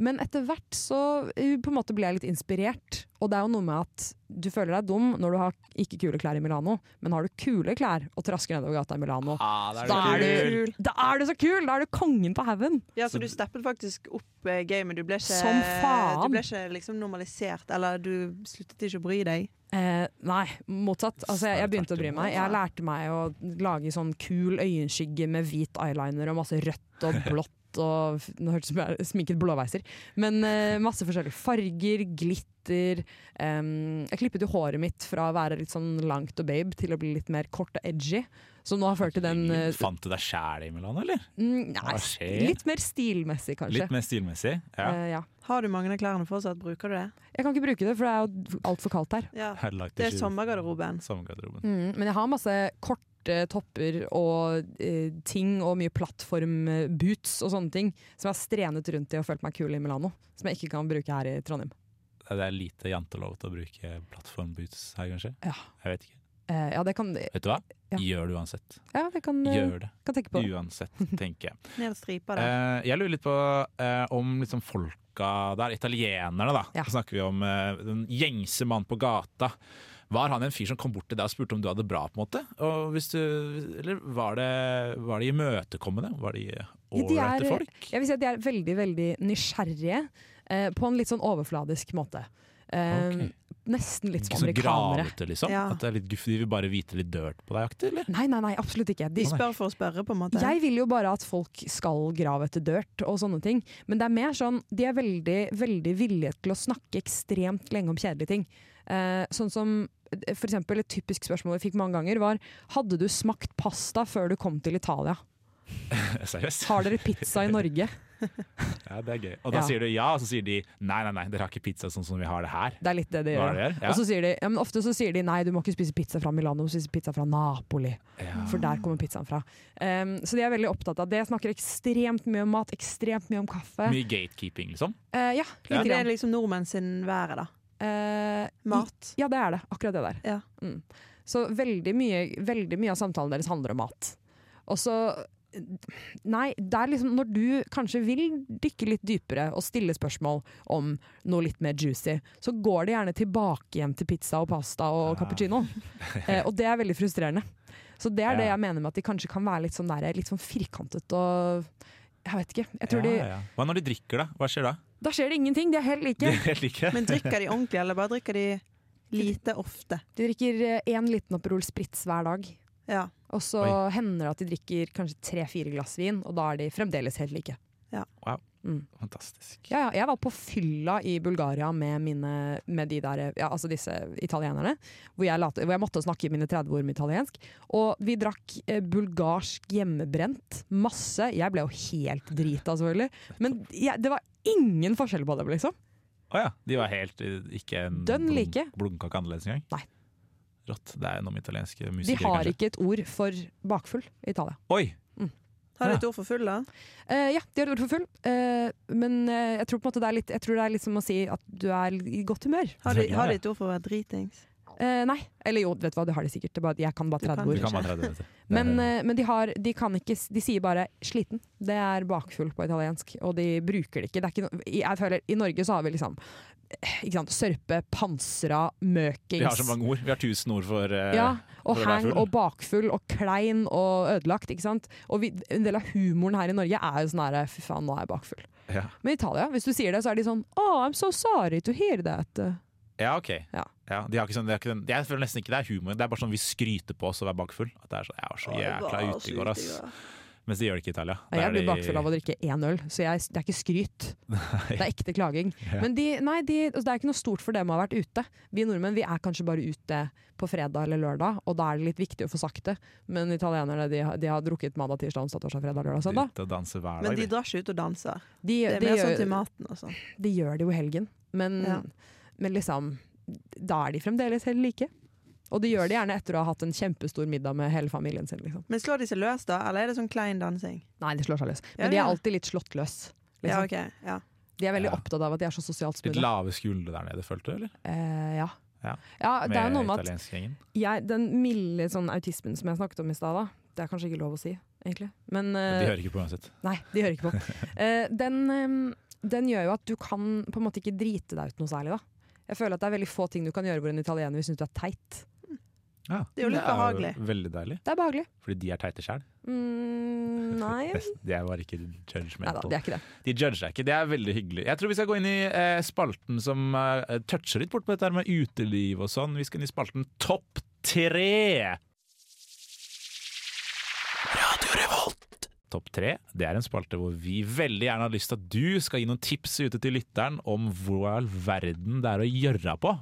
Speaker 3: men etter hvert så eh, på en måte ble jeg litt inspirert. Og det er jo noe med at du føler deg dum når du har ikke kule klær i Milano, men har du kule klær og trasker nedover gata i Milano, Ah, da er,
Speaker 2: kul.
Speaker 3: du, da er du så kul! Da er du kongen på haugen!
Speaker 2: Ja, så du steppet faktisk opp eh, gamet. Du ble ikke,
Speaker 3: Som faen!
Speaker 2: Du ble ikke liksom normalisert, eller du sluttet ikke å bry deg.
Speaker 3: Eh, nei, motsatt. Altså, jeg, jeg
Speaker 1: Snarere
Speaker 3: begynte å bry
Speaker 1: tvert
Speaker 3: meg. Jeg
Speaker 2: imot.
Speaker 3: lærte meg å lage sånn kul øyenskygge med hvit eyeliner og masse rødt og blått og f- Nå hørtes det ut som jeg er sminket blåveiser. Men eh, masse forskjellige farger, glitter. em, jeg klippet jo håret mitt fra å være litt sånn langt og babe til å bli litt mer kort og edgy. Som nå har ført til den eh,
Speaker 1: Fant du deg sjæl i Milan, eller?
Speaker 3: mm,
Speaker 1: Hva
Speaker 3: nei,
Speaker 1: skjer?
Speaker 3: Litt mer stilmessig, kanskje.
Speaker 1: Litt mer stilmessig? Ja.
Speaker 3: Eh, ja.
Speaker 2: Har du mange av klærne fortsatt? Bruker du det?
Speaker 3: Jeg kan ikke bruke det, for det er jo altfor kaldt her.
Speaker 2: Ja.
Speaker 1: Har du lagt
Speaker 2: Det er
Speaker 1: skjul-
Speaker 2: sommergarderoben.
Speaker 1: sommergarderoben.
Speaker 3: Mm, men jeg har masse korte topper og eh, ting og mye plattformboots og sånne ting som jeg har strenet rundt i og følt meg kul i Milano. Som jeg ikke kan bruke her i Trondheim.
Speaker 1: Det er lite jantelov til å bruke plattformboots her, kanskje?
Speaker 3: Ja.
Speaker 1: Jeg vet ikke.
Speaker 3: Eh, ja, det kan
Speaker 1: Vet du hva?
Speaker 3: Ja.
Speaker 1: Gjør det uansett.
Speaker 3: Ja, vi kan, eh,
Speaker 1: Gjør det
Speaker 3: kan tenke på det.
Speaker 1: uansett, tenker jeg.
Speaker 2: Ned stripa der.
Speaker 1: Eh, jeg lurer litt på eh, om liksom folka der, italienerne da,
Speaker 3: Ja.
Speaker 1: så snakker vi om eh, den gjengse mann på gata. Var han en fyr som kom bort til deg og spurte om du hadde det bra? på en måte? Og hvis du, eller var det, var de imøtekommende? Var de
Speaker 3: Ja,
Speaker 1: ålreite
Speaker 3: de er-
Speaker 1: folk?
Speaker 3: Jeg vil si at de er veldig, veldig nysgjerrige eh, på en litt sånn overfladisk måte. Eh,
Speaker 1: Ok.
Speaker 3: Nesten litt
Speaker 1: Ikke
Speaker 3: som
Speaker 1: sånn
Speaker 3: amerikanere.
Speaker 1: gravete, liksom?
Speaker 2: Ja.
Speaker 1: At det er litt guff, de vil bare vite litt dirt på deg, aktig? eller?
Speaker 3: Nei, nei, nei, absolutt ikke. De,
Speaker 2: De spør for å spørre, på en måte.
Speaker 3: sånn, jeg vil jo bare at folk skal grave etter dirt og sånne ting, men det er mer sånn de er veldig, veldig villige til å snakke ekstremt lenge om kjedelige ting. Eh, sånn som eh, for eksempel et typisk spørsmål vi fikk mange ganger var Hadde du smakt pasta før du kom til Italia?
Speaker 1: Seriøst?
Speaker 3: Har dere pizza i Norge?
Speaker 1: Ja, det er gøy. Og da
Speaker 3: Ja.
Speaker 1: sier du ja, og så sier de nei, nei, nei, dere har ikke pizza sånn som vi har det her.
Speaker 3: Det er litt det de
Speaker 1: Hva
Speaker 3: gjør.
Speaker 1: er det her? Ja.
Speaker 3: Og så sier de, ja, men ofte så sier de nei, du må ikke spise pizza fra Milano, du må spise pizza fra Napoli. For der kommer pizzaen fra. Um, så de er veldig opptatt av det. Snakker ekstremt mye om mat, ekstremt mye om kaffe.
Speaker 1: Mye gatekeeping, liksom.
Speaker 3: Eh,
Speaker 1: Ja.
Speaker 3: ja, litt
Speaker 2: Det er
Speaker 3: grann.
Speaker 2: liksom nordmenn sin været, da.
Speaker 3: Eh,
Speaker 2: Mat.
Speaker 3: i- Ja, det er det. Akkurat det der.
Speaker 2: Ja.
Speaker 3: Mm. Så veldig mye, veldig mye av samtalen deres handler om mat. Og så Nei, det er liksom når du kanskje vil dykke litt dypere og stille spørsmål om noe litt mer juicy, så går det gjerne tilbake igjen til pizza og pasta og
Speaker 1: Ah.
Speaker 3: cappuccino. Eh, og det er veldig frustrerende. Så det er det
Speaker 1: Ja.
Speaker 3: jeg mener med at de kanskje kan være litt sånn, der, litt sånn firkantet og Jeg vet ikke. Jeg tror
Speaker 1: ja,
Speaker 3: de,
Speaker 1: ja. Hva når de drikker, da? Hva skjer da?
Speaker 3: da skjer det ingenting. De er helt like.
Speaker 1: De er helt like.
Speaker 2: Men drikker de ordentlig, eller bare drikker de lite ofte?
Speaker 3: De drikker én liten Aperol Spritz hver dag.
Speaker 2: Ja.
Speaker 3: Og så
Speaker 1: Oi.
Speaker 3: hender det at de drikker kanskje tre-fire glass vin, og da er de fremdeles helt like.
Speaker 1: Fantastisk.
Speaker 3: Ja, ja, jeg var på fylla i Bulgaria med, mine, med de der, ja, altså disse italienerne, hvor jeg, late, hvor jeg måtte snakke mine 30 ord med italiensk. Og vi drakk eh, bulgarsk hjemmebrent. Masse. Jeg ble jo helt drita, selvfølgelig. Men jeg, det var ingen forskjell på dem, liksom.
Speaker 1: Å ja. De var helt eh, ikke en
Speaker 3: Dønn
Speaker 1: blunk-
Speaker 3: like.
Speaker 1: blunkake annerledes engang?
Speaker 3: Nei.
Speaker 1: Rått. Det er noen italienske
Speaker 3: De
Speaker 1: musikere,
Speaker 3: har
Speaker 1: kanskje.
Speaker 3: ikke et ord for bakfull i Italia.
Speaker 1: Oi!
Speaker 2: Har de et ord for full, da?
Speaker 3: Eh, ja, de har et ord for full, eh, men eh, jeg tror på en måte det er litt Jeg tror det er litt som å si at du er i godt humør.
Speaker 2: Har de, har de et ord for å være dritings?
Speaker 3: Eh, nei. Eller jo, vet du hva, det har de sikkert. Det er bare, at jeg kan
Speaker 2: Du
Speaker 3: bare
Speaker 2: kan
Speaker 1: Du
Speaker 3: 30 ord.
Speaker 1: kan bare 30 minutter.
Speaker 3: Men, eh, men de, har, de kan ikke s- De sier bare 'sliten'. Det er bakfull på italiensk, og de bruker det ikke. Det er ikke no, jeg føler, I Norge så har vi liksom eh, ikke sant, sørpe, pansra, møkings
Speaker 1: Vi har så mange ord. Vi har tusen ord for eh,
Speaker 3: ja, og
Speaker 1: for å være
Speaker 3: hang
Speaker 1: full.
Speaker 3: og bakfull og klein og ødelagt. ikke sant? Og vi, En del av humoren her i Norge er jo sånn her 'fy faen, nå er jeg bakfull'.
Speaker 1: Ja.
Speaker 3: Men i Italia, hvis du sier det, så er de sånn 'oh, I'm so sorry to hear that'.
Speaker 1: Ja, ok.
Speaker 3: Ja.
Speaker 1: de har ikke sånn, de har ikke den, jeg føler nesten ikke det er humor. Det er bare sånn vi skryter på oss å være bakfull. At det er sånn, jeg var så jækla ute i går, ass. Mens de gjør det ikke i Italia.
Speaker 3: Ja, Jeg blir bakfull av å drikke én øl, så jeg, det er ikke skryt. Det er ekte klaging. Men de, nei, de, altså, det er ikke noe stort for dem å ha vært ute. Vi nordmenn vi er kanskje bare ute på fredag eller lørdag, og da er det litt viktig å få sagt det. Men italienere de, har- de har drukket mandag, tirsdag, onsdag, torsdag, fredag, lørdag, søndag.
Speaker 1: Ute og danse hver
Speaker 2: Men
Speaker 1: dag.
Speaker 2: de
Speaker 1: de.
Speaker 2: drar ikke ut og danser.
Speaker 3: De,
Speaker 2: Det er
Speaker 3: de,
Speaker 2: mer sånn til
Speaker 3: gjør,
Speaker 2: maten og sånn.
Speaker 3: de gjør det jo i helgen, men,
Speaker 2: Ja.
Speaker 3: men liksom Da er de fremdeles helt like. Og de gjør det gjerne etter å ha hatt en kjempestor middag med hele familien sin. liksom.
Speaker 2: Men slår de seg løs, da? Eller er det sånn klein dansing?
Speaker 3: Nei, de slår seg løs.
Speaker 2: Ja,
Speaker 3: Men de er
Speaker 2: ja.
Speaker 3: alltid litt slått løs. Liksom.
Speaker 2: Ja, ok. Ja.
Speaker 3: De er veldig
Speaker 1: Ja.
Speaker 3: opptatt av at de er så sosialt
Speaker 1: Litt
Speaker 3: smudde.
Speaker 1: lave skuldre der nede, følte du, eller?
Speaker 3: Eh, ja.
Speaker 1: Ja.
Speaker 3: det er jo noe med at
Speaker 1: italienskgjengen.
Speaker 3: jeg, den milde sånn autismen som jeg snakket om i stad, da, det er kanskje ikke lov å si, egentlig. Men,
Speaker 1: Men de
Speaker 3: eh,
Speaker 1: hører ikke på uansett.
Speaker 3: Nei, de hører ikke på. Eh, den, eh, den gjør jo at du kan på en måte ikke drite deg ut noe særlig, da. Jeg føler at det er veldig få ting du kan gjøre hvor en italiener vil synes du er teit.
Speaker 1: Ja,
Speaker 2: Det er jo litt behagelig.
Speaker 1: Veldig deilig.
Speaker 3: Det er behagelig.
Speaker 1: Fordi de er teite sjæl.
Speaker 3: Mm, nei.
Speaker 1: De er bare ikke
Speaker 3: Neida,
Speaker 1: judgmental.
Speaker 3: det er ikke det.
Speaker 1: De judger deg ikke. Det er veldig hyggelig. Jeg tror vi skal gå inn i eh, spalten som eh, toucher litt bort på dette her med uteliv og sånn. Vi skal inn i spalten Topp tre! Topp tre det er en spalte hvor vi veldig gjerne har lyst til at du skal gi noen tips ute til lytteren om hvor i all verden det er å gjøre på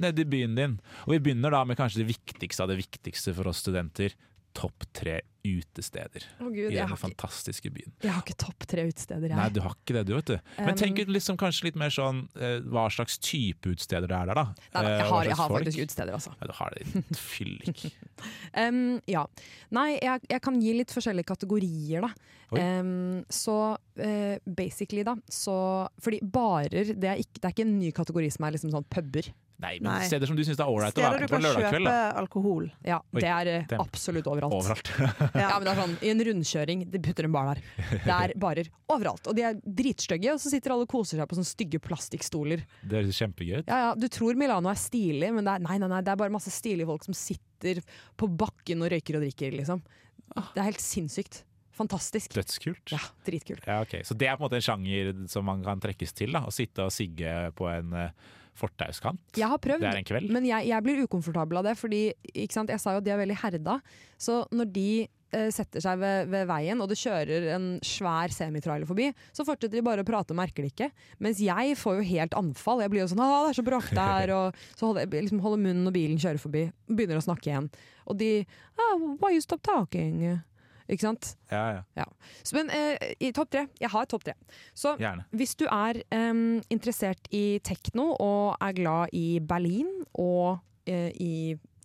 Speaker 1: nede i byen din. Og vi begynner da med kanskje det viktigste av det viktigste for oss studenter. Topp tre utesteder
Speaker 3: Å gud,
Speaker 1: i
Speaker 3: jeg
Speaker 1: denne
Speaker 3: har, ikke,
Speaker 1: fantastiske byen.
Speaker 3: jeg har ikke topp tre utesteder,
Speaker 1: Nei,
Speaker 3: jeg.
Speaker 1: du har ikke det, du, vet du. Men
Speaker 3: Um,
Speaker 1: tenk ut liksom kanskje litt mer sånn eh, hva slags type utesteder det er der, da.
Speaker 3: Neida,
Speaker 1: Eh,
Speaker 3: jeg
Speaker 1: hva
Speaker 3: har, jeg
Speaker 1: slags
Speaker 3: har
Speaker 1: folk.
Speaker 3: faktisk utesteder, altså.
Speaker 1: Ja, du har det ditt fyllik.
Speaker 3: Em, ja. Nei, jeg, jeg kan gi litt forskjellige kategorier, da.
Speaker 1: Oi.
Speaker 3: Em, så eh, basically, da så Fordi barer det er, ikke, det er ikke en ny kategori som er liksom sånn puber.
Speaker 1: Nei, men
Speaker 2: Nei.
Speaker 1: steder som du syns er ålreit å
Speaker 2: Steder
Speaker 1: være på
Speaker 2: du
Speaker 1: på
Speaker 2: kan
Speaker 1: en lørdagskveld.
Speaker 2: kjøpe
Speaker 1: Da.
Speaker 2: alkohol.
Speaker 3: Ja,
Speaker 1: Oi,
Speaker 3: det er eh,
Speaker 1: den.
Speaker 3: absolutt overalt.
Speaker 1: Overalt.
Speaker 3: Ja. men det er sånn, I en rundkjøring, de putter en bar der. Det er barer overalt. Og de er dritstygge, og så sitter alle og koser seg på sånne stygge plastikkstoler.
Speaker 1: Det høres kjempegøy ut.
Speaker 3: Ja, ja, Du tror Milano er stilig, men det er, nei, nei, nei, det er bare masse stilige folk som sitter på bakken og røyker og drikker, liksom.
Speaker 1: Ah.
Speaker 3: Det er helt sinnssykt. Fantastisk.
Speaker 1: Dødskult.
Speaker 3: Ja, dritkult.
Speaker 1: Ja, ok. Så det er på en måte en sjanger som man kan trekkes til? da Å sitte og sigge på en eh, fortauskant?
Speaker 3: Jeg har prøvd,
Speaker 1: Det er en kveld.
Speaker 3: men jeg, jeg blir ukomfortabel av det. Fordi ikke sant? jeg sa jo at de er veldig herda. Så når de eh, setter seg ved, ved veien, og det kjører en svær semitrailer forbi, så fortsetter de bare å prate og merker det ikke. Mens jeg får jo helt anfall. Jeg blir jo sånn 'Å, det er så bråkete her', og så holder, jeg liksom holder munnen når bilen kjører forbi. Begynner å snakke igjen. Og de ah, 'Why you stop talking?' Ikke sant?
Speaker 1: Ja, ja.
Speaker 3: Ja. Så, men eh, i topp tre. Jeg har topp tre. Så
Speaker 1: Gjerne.
Speaker 3: hvis du er em, interessert i tekno og er glad i Berlin og eh, i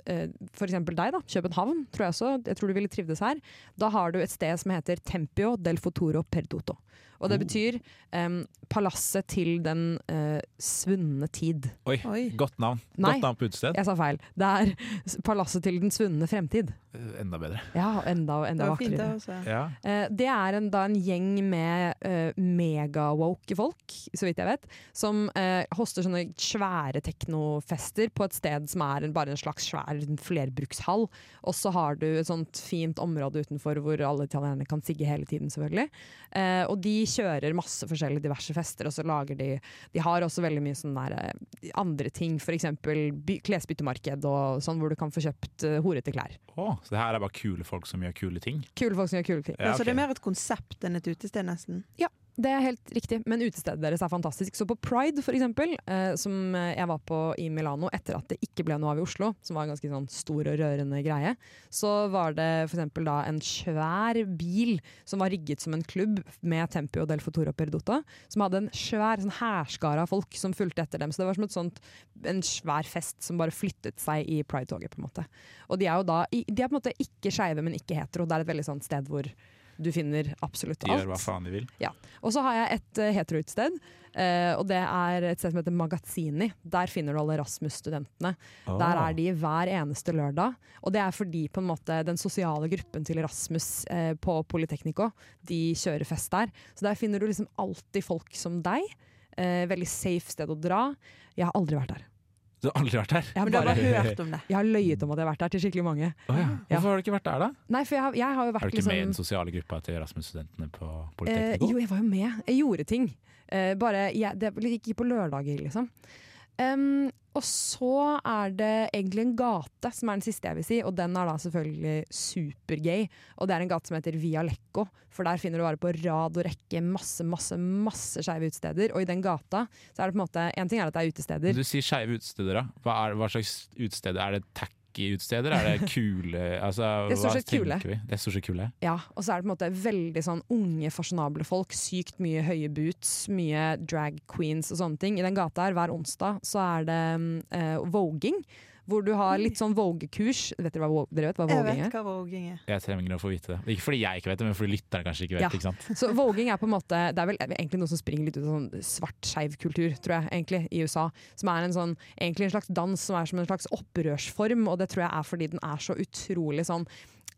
Speaker 3: eh, for eksempel deg, da. København, tror jeg også. Jeg tror du ville trivdes her. Da har du et sted som heter Tempio del Futuro Perduto. Og det betyr em, palasset til den eh, svunne tid.
Speaker 1: Oi,
Speaker 2: Oi.
Speaker 1: godt navn.
Speaker 3: Nei.
Speaker 1: Godt navn på utested.
Speaker 3: Jeg sa feil. Det er s- palasset til den svunne fremtid.
Speaker 1: Eh, Enda bedre.
Speaker 3: Ja, enda, enda
Speaker 2: Det var fint, det
Speaker 3: vakrere.
Speaker 2: også.
Speaker 1: Ja.
Speaker 3: Eh, Det er en, da en gjeng med eh, megawoke folk, så vidt jeg vet, som eh, hoster sånne svære teknofester på et sted som er en, bare en slags svær flerbrukshall. Og så har du et sånt fint område utenfor hvor alle italienerne kan sigge hele tiden, selvfølgelig. Eh, og de kjører masse forskjellige diverse fester, og så lager de De har også veldig mye sånne der, eh, andre ting, f.eks. klesbyttemarked og sånn, hvor du kan få kjøpt eh, horete klær.
Speaker 1: Å, så det her er bare kule folk som gjør kule ting?
Speaker 3: Kule folk som gjør kule ting.
Speaker 1: Ja,
Speaker 2: Ja, så det
Speaker 1: ok.
Speaker 2: er mer et konsept enn et utested, nesten.
Speaker 3: Det er helt riktig, men utestedet deres er fantastisk. Så på Pride, for eksempel, eh, som eh, jeg var på i Milano etter at det ikke ble noe av i Oslo, som var en ganske sånn stor og rørende greie, så var det for eksempel da en svær bil som var rigget som en klubb med Tempio del Futuro Perduta, som hadde en svær sånn hærskare av folk som fulgte etter dem. Så det var som et sånt, en svær fest som bare flyttet seg i Pride-toget, på en måte. Og de er jo da, i- de er på en måte ikke skeive, men ikke hetero. Det er et veldig sånt sted hvor du finner absolutt
Speaker 1: De
Speaker 3: alt.
Speaker 1: gjør hva faen de vil?
Speaker 3: Og så har jeg et uh, heteroutested, eh, og det er et sted som heter Magazzini. Der finner du alle Rasmus-studentene. Der
Speaker 1: Ah.
Speaker 3: er de hver eneste lørdag. Og det er fordi på en måte, den sosiale gruppen til Rasmus eh, på Politeknico, de kjører fest der. Så der finner du liksom alltid folk som deg. Eh, veldig safe sted å dra. Jeg har aldri vært der.
Speaker 1: Du har aldri vært her?
Speaker 3: Jeg har,
Speaker 2: Men du har
Speaker 3: bare,
Speaker 2: bare hørt om det.
Speaker 3: jeg har løyet om at jeg har vært der til skikkelig mange.
Speaker 1: Å ja.
Speaker 3: Ja.
Speaker 1: Hvorfor har du ikke vært der, da?
Speaker 3: Nei, for jeg har, jeg har jo vært
Speaker 1: Er du ikke
Speaker 3: liksom,
Speaker 1: med i den sosiale gruppa til Rasmus-studentene på
Speaker 3: Eh,
Speaker 1: Politeknico?
Speaker 3: jo, jeg var jo med. Jeg gjorde ting. Eh, bare jeg, Det gikk på lørdager, liksom. Em, og så er det egentlig en gate som er den siste jeg vil si, og den er da selvfølgelig supergay. Og det er en gate som heter Via Lecco, for der finner du bare på rad og rekke masse masse, masse skeive utesteder. Og i den gata så er det på en måte En ting er at det er utesteder.
Speaker 1: Du sier skeive utesteder, da. Hva, er, hva slags utesteder? Er det tacky utesteder? Er det kule altså,
Speaker 3: Det er stort
Speaker 1: hva
Speaker 3: sett kule.
Speaker 1: tenker vi? Det er stort sett kule.
Speaker 3: Ja, og så er det på en måte veldig sånn unge, fasjonable folk. Sykt mye høye boots, mye drag queens og sånne ting. I den gata her hver onsdag så er det mm, eh, voging, hvor du har litt sånn vogekurs. Vet dere hva, vog- dere vet hva
Speaker 2: Jeg
Speaker 3: voging
Speaker 2: vet
Speaker 3: er?
Speaker 2: hva voging er.
Speaker 1: Jeg trenger å få vite det. Ikke fordi jeg ikke vet det, men fordi lytterne kanskje ikke vet
Speaker 3: Ja.
Speaker 1: det. ikke sant?
Speaker 3: Så voging er på en måte Det er vel egentlig noe som springer litt ut av sånn svart, skeiv kultur, tror jeg, egentlig, i USA. Som er en sånn Egentlig en slags dans som er som en slags opprørsform, og det tror jeg er fordi den er så utrolig sånn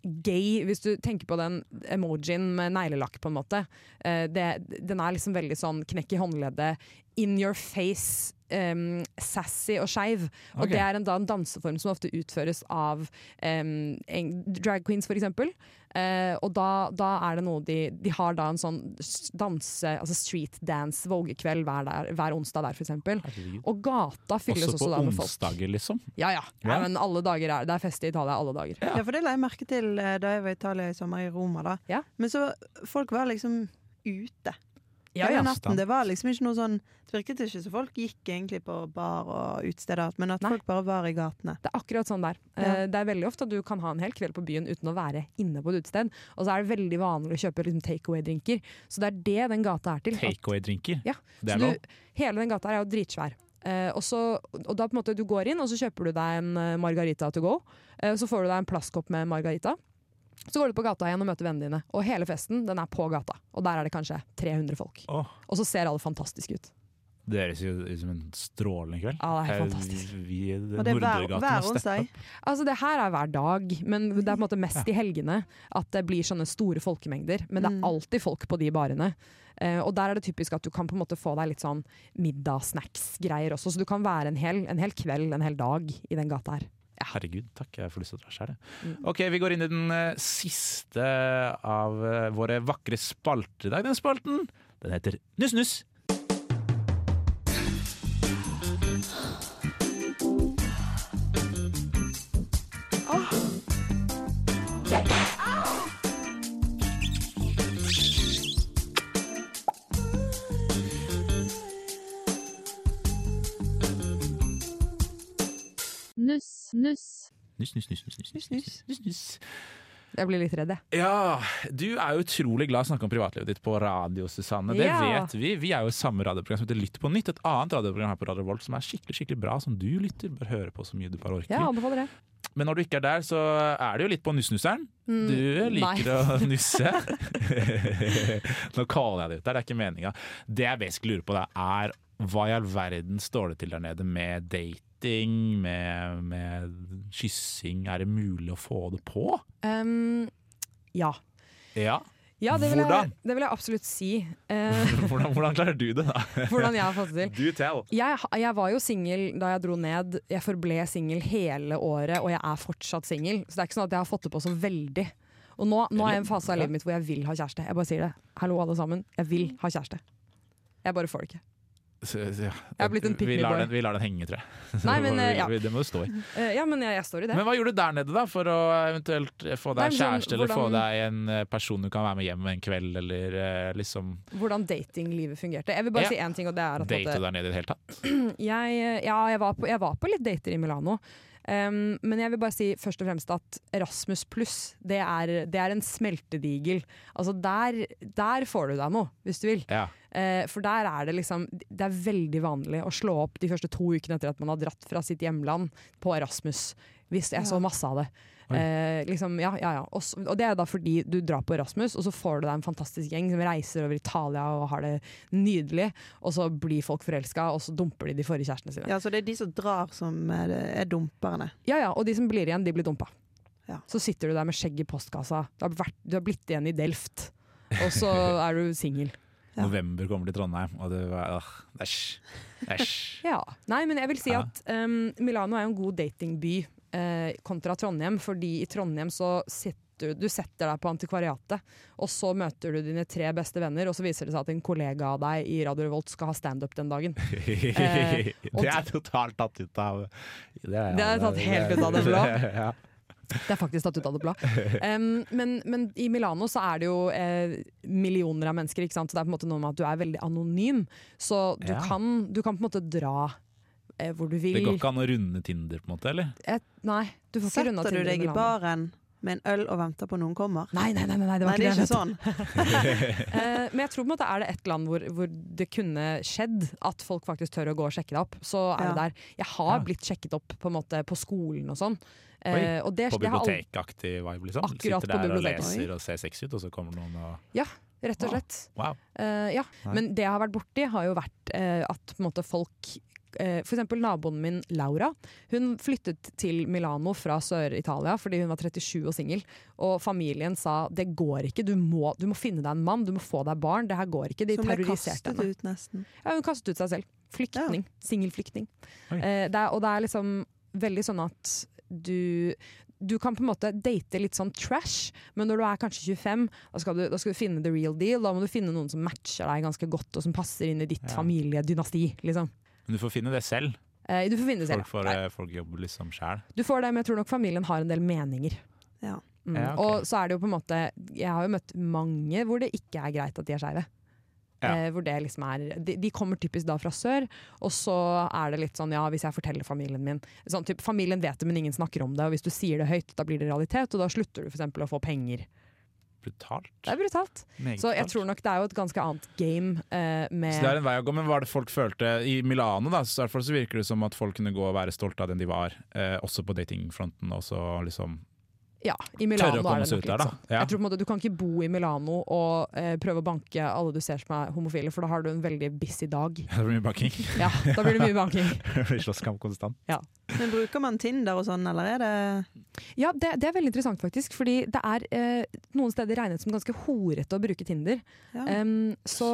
Speaker 3: Gay, hvis du tenker på den emojien med neglelakk, på en måte. Eh, det, den er liksom veldig sånn knekk i håndleddet, in your face, em, sassy og skeiv. Og
Speaker 1: Ok.
Speaker 3: det er en, da en danseform som ofte utføres av em, en- drag queens, for eksempel. Eh, og da, da er det noe de De har da en sånn s- danse, altså street dance, vogekveld hver, der, hver onsdag der, for eksempel.
Speaker 1: Herregud.
Speaker 3: Og gata fylles
Speaker 1: Også
Speaker 3: også,
Speaker 1: på
Speaker 3: da med folk.
Speaker 1: onsdager, liksom.
Speaker 3: Ja, ja.
Speaker 1: Ja.
Speaker 3: Nei, men alle dager er, det er fest i Italia alle dager.
Speaker 2: Ja, for det la jeg merke til eh, da jeg var i Italia i sommer, i Roma. da.
Speaker 3: Ja.
Speaker 2: Men så folk var liksom ute.
Speaker 3: Ja,
Speaker 2: Hele
Speaker 3: ja.
Speaker 2: natten. Det var liksom ikke noe sånn Det virket ikke som folk gikk egentlig på bar og utesteder, men at
Speaker 3: Nei.
Speaker 2: folk bare var i gatene.
Speaker 3: Det er akkurat sånn der. Eh, Det er veldig ofte at du kan ha en hel kveld på byen uten å være inne på et utested. Og så er det veldig vanlig å kjøpe liksom, takeaway-drinker. Så det er det den gata er til. at-
Speaker 1: Takeaway-drinker.
Speaker 3: Ja.
Speaker 1: Det
Speaker 3: Så
Speaker 1: er
Speaker 3: du,
Speaker 1: lov.
Speaker 3: hele den gata her er jo dritsvær. Eh, og, så, og da på en måte du går inn, og så kjøper du deg en eh, margarita to go. Eh, så får du deg en plastkopp med margarita. Så går du på gata igjen og møter vennene dine. Og hele festen den er på gata. Og der er det kanskje 300 folk.
Speaker 1: Åh,
Speaker 3: Og så ser alle fantastiske ut.
Speaker 1: Det høres jo ut som en strålende kveld.
Speaker 3: Ja, det er helt
Speaker 1: Eh,
Speaker 3: fantastisk.
Speaker 1: Vi, vi,
Speaker 2: Og det er hver,
Speaker 1: Nordøygaten
Speaker 2: hver
Speaker 1: må steppe
Speaker 2: onsdag.
Speaker 3: Altså Det her er hver dag, men det er på en måte mest i helgene at det blir sånne store folkemengder. Men det er
Speaker 2: Mm.
Speaker 3: alltid folk på de barene. Eh, og der er det typisk at du kan på en måte få deg litt sånn middagssnacks-greier også. Så du kan være en hel, en hel kveld, en hel dag i den gata her.
Speaker 1: Herregud, takk. Jeg får lyst til å dra sjøl. jeg.
Speaker 3: Mm.
Speaker 1: Ok, vi går inn i den eh, siste av eh, våre vakre spalter i dag. Den spalten den heter Nuss Nuss.
Speaker 8: Nuss, nuss.
Speaker 1: Nuss, nuss, nuss, nuss, nuss, nuss, nuss, nuss, nuss.
Speaker 3: Jeg blir litt redd, jeg.
Speaker 1: Ja, du er jo utrolig glad i å snakke om privatlivet ditt på radio, Susanne. Det
Speaker 3: Ja.
Speaker 1: vet vi. Vi er jo i samme radioprogram som heter Lytt på nytt. Et annet radioprogram her på Radio Volt som er skikkelig skikkelig bra, som du lytter bør høre på så mye du bare orker.
Speaker 3: Jeg anbefaler det.
Speaker 1: Men når du ikke er der, så er det jo litt på nussnusseren.
Speaker 3: Mm,
Speaker 1: Du liker
Speaker 3: nei.
Speaker 1: å nusse. Nå kaller jeg det ut der, det er ikke meninga. Det jeg basically lurer på, da, er hva i all verden står det til der nede med dating, med, med kyssing? Er det mulig å få det på?
Speaker 3: Um, ja.
Speaker 1: Ja.
Speaker 3: Ja, det vil, jeg,
Speaker 1: Hvordan?
Speaker 3: det vil jeg absolutt si. Eh,
Speaker 1: Hvordan, hvordan klarer du det, da?
Speaker 3: hvordan jeg har fått det til.
Speaker 1: Do tell.
Speaker 3: Jeg, ha- jeg var jo singel da jeg dro ned. Jeg forble singel hele året, og jeg er fortsatt singel. Så det er ikke sånn at jeg har fått det på så veldig. Og nå, nå er jeg i en fase av livet mitt hvor jeg vil ha kjæreste. Jeg bare sier det. Hallo, alle sammen. Jeg vil
Speaker 1: Mm.
Speaker 3: ha kjæreste. Jeg bare får det ikke.
Speaker 1: Så- så- ja.
Speaker 3: Jeg har blitt en pick me
Speaker 1: vi, lar
Speaker 3: boy.
Speaker 1: den, vi lar den henge, tror jeg.
Speaker 3: Nei, men, eh, ja.
Speaker 1: Det må du stå i.
Speaker 3: Eh, ja, men jeg, jeg står i det.
Speaker 1: Men hva gjorde du der nede, da? For å eventuelt få
Speaker 3: Nei,
Speaker 1: deg
Speaker 3: men sånn,
Speaker 1: kjæreste, eller få
Speaker 3: hvordan-
Speaker 1: deg en eh, person du kan være med hjem en kveld, eller eh, liksom
Speaker 3: Hvordan datinglivet fungerte. Jeg vil bare
Speaker 1: Ja.
Speaker 3: si én ting, og det er at på en
Speaker 1: date
Speaker 3: måte-
Speaker 1: der nede i det hele tatt?
Speaker 3: jeg, ja, jeg, var på, jeg var på litt dater i Milano. Um, men jeg vil bare si først og fremst at Erasmus pluss, det, er- det er en smeltedigel. Altså der, der får du deg noe, hvis du vil.
Speaker 1: Ja.
Speaker 3: Eh, for der er det liksom Det er veldig vanlig å slå opp de første to ukene etter at man har dratt fra sitt hjemland på Erasmus. Hvis jeg så masse av det.
Speaker 1: Oi.
Speaker 3: Eh, liksom, ja, ja, ja. Og, s- og det er da fordi du drar på Erasmus, og så får du deg en fantastisk gjeng som reiser over Italia og har det nydelig, og så blir folk forelska, og så dumper de de forrige kjærestene sine.
Speaker 2: Ja, så det er de som drar som er, er dumperne.
Speaker 3: Ja ja, og de som blir igjen, de blir dumpa.
Speaker 2: Ja.
Speaker 3: Så sitter du der med skjegg i postkassa, du har, vært, du har blitt igjen i Delft, og så er du singel.
Speaker 2: Ja.
Speaker 1: November kommer til Trondheim, og det var øh, Æsj. Æsj.
Speaker 3: Ja. Nei, men jeg vil si
Speaker 1: Ja.
Speaker 3: at um, Milano er jo en god datingby eh, kontra Trondheim, fordi i Trondheim så sitter du setter deg på antikvariatet, og så møter du dine tre beste venner, og så viser det seg at en kollega av deg i Radio Revolt skal ha standup den dagen. Eh, og
Speaker 1: det er totalt tatt ut av Det er,
Speaker 3: Det er tatt helt ut av det blå.
Speaker 1: Ja.
Speaker 3: Det er faktisk tatt ut av det blå. Um, men, men i Milano så er det jo eh, millioner av mennesker, ikke sant? så det er på en måte noe med at du er veldig anonym. Så du,
Speaker 1: Ja.
Speaker 3: kan, du kan på en måte dra eh, hvor du vil.
Speaker 1: Det går ikke an å runde Tinder, på en måte? eller?
Speaker 3: Et, nei, du får ikke runda
Speaker 2: Setter du
Speaker 3: Tinder i
Speaker 2: deg i
Speaker 3: Milano.
Speaker 2: baren med en øl og venter på noen kommer?
Speaker 3: Nei, nei, nei, nei, nei, det var
Speaker 2: Nei, det er
Speaker 3: ikke det.
Speaker 2: ikke sånn.
Speaker 3: Eh, men jeg tror på en måte er det et land hvor, hvor det kunne skjedd at folk faktisk tør å gå og sjekke deg opp. Så er det
Speaker 2: Ja.
Speaker 3: der. Jeg har
Speaker 1: Ja.
Speaker 3: blitt sjekket opp på en måte på skolen og sånn.
Speaker 1: Oi,
Speaker 3: Eh, og det,
Speaker 1: På
Speaker 3: det har aldri-
Speaker 1: bibliotekaktig vibe, liksom?
Speaker 3: Akkurat på
Speaker 1: Sitter der og
Speaker 3: biblioteket.
Speaker 1: leser og ser sexy ut, og så kommer noen og
Speaker 3: Rett og
Speaker 1: Wow.
Speaker 3: slett.
Speaker 1: Wow.
Speaker 3: Eh, ja,
Speaker 1: Nei.
Speaker 3: men det jeg har vært borti, har jo vært eh, at på en måte folk eh, for eksempel naboen min Laura. Hun flyttet til Milano fra Sør-Italia fordi hun var 37 og singel. Og familien sa det går ikke, du må, du må finne deg en mann, du må få deg barn. Det her går ikke. De altså.
Speaker 2: Som ble
Speaker 3: terroriserte
Speaker 2: kastet
Speaker 3: henne.
Speaker 2: ut, nesten.
Speaker 3: Ja, hun kastet ut seg selv. Flyktning. Singelflyktning.
Speaker 1: Oi.
Speaker 3: Eh, det er- og det er liksom veldig sånn at du du kan på en måte date litt sånn trash, men når du er kanskje 25, da skal, du, da skal du finne the real deal. Da må du finne noen som matcher deg ganske godt, og som passer inn i ditt
Speaker 1: Ja.
Speaker 3: familiedynasti. Liksom.
Speaker 1: Men du får finne det selv.
Speaker 3: Eh, du får finne det selv.
Speaker 1: Folk, får,
Speaker 3: Nei,
Speaker 1: eh, folk jobber liksom sjæl.
Speaker 3: Du får det, men jeg tror nok familien har en del meninger.
Speaker 2: Ja.
Speaker 3: Mm.
Speaker 1: Ja, ok.
Speaker 3: Og så er det jo på en måte Jeg har jo møtt mange hvor det ikke er greit at de er skeive.
Speaker 1: Ja.
Speaker 3: Eh, hvor det liksom er de, de kommer typisk da fra sør, og så er det litt sånn ja, hvis jeg forteller familien min sånn, typ, Familien vet det, men ingen snakker om det, og hvis du sier det høyt, da blir det realitet, og da slutter du f.eks. å få penger.
Speaker 1: Brutalt.
Speaker 3: Det er brutalt.
Speaker 1: Meget
Speaker 3: Så jeg
Speaker 1: brutalt.
Speaker 3: tror nok det er jo et ganske annet game eh, med
Speaker 1: Så det er en vei å gå, men hva er det folk følte I Milano da, så, i hvert fall så virker det som at folk kunne gå og være stolte av den de var, eh, også på datingfronten. Også liksom
Speaker 3: Ja, i Milano
Speaker 1: Tørre å
Speaker 3: er
Speaker 1: komme
Speaker 3: det
Speaker 1: seg
Speaker 3: nok
Speaker 1: ut der,
Speaker 3: litt
Speaker 1: da.
Speaker 3: sånn.
Speaker 1: Ja.
Speaker 3: Jeg tror på en måte Du kan ikke bo i Milano og eh, prøve å banke alle du ser som er homofile, for da har du en veldig busy dag.
Speaker 1: Det blir mye banking.
Speaker 3: Ja, da blir det mye banking.
Speaker 1: det blir slåsskamp konstant.
Speaker 3: Ja.
Speaker 2: Men bruker man Tinder og sånn, eller er det
Speaker 3: Ja, det, det er veldig interessant faktisk, fordi det er eh, noen steder regnet som ganske horete å bruke Tinder.
Speaker 2: Ja.
Speaker 3: Em, så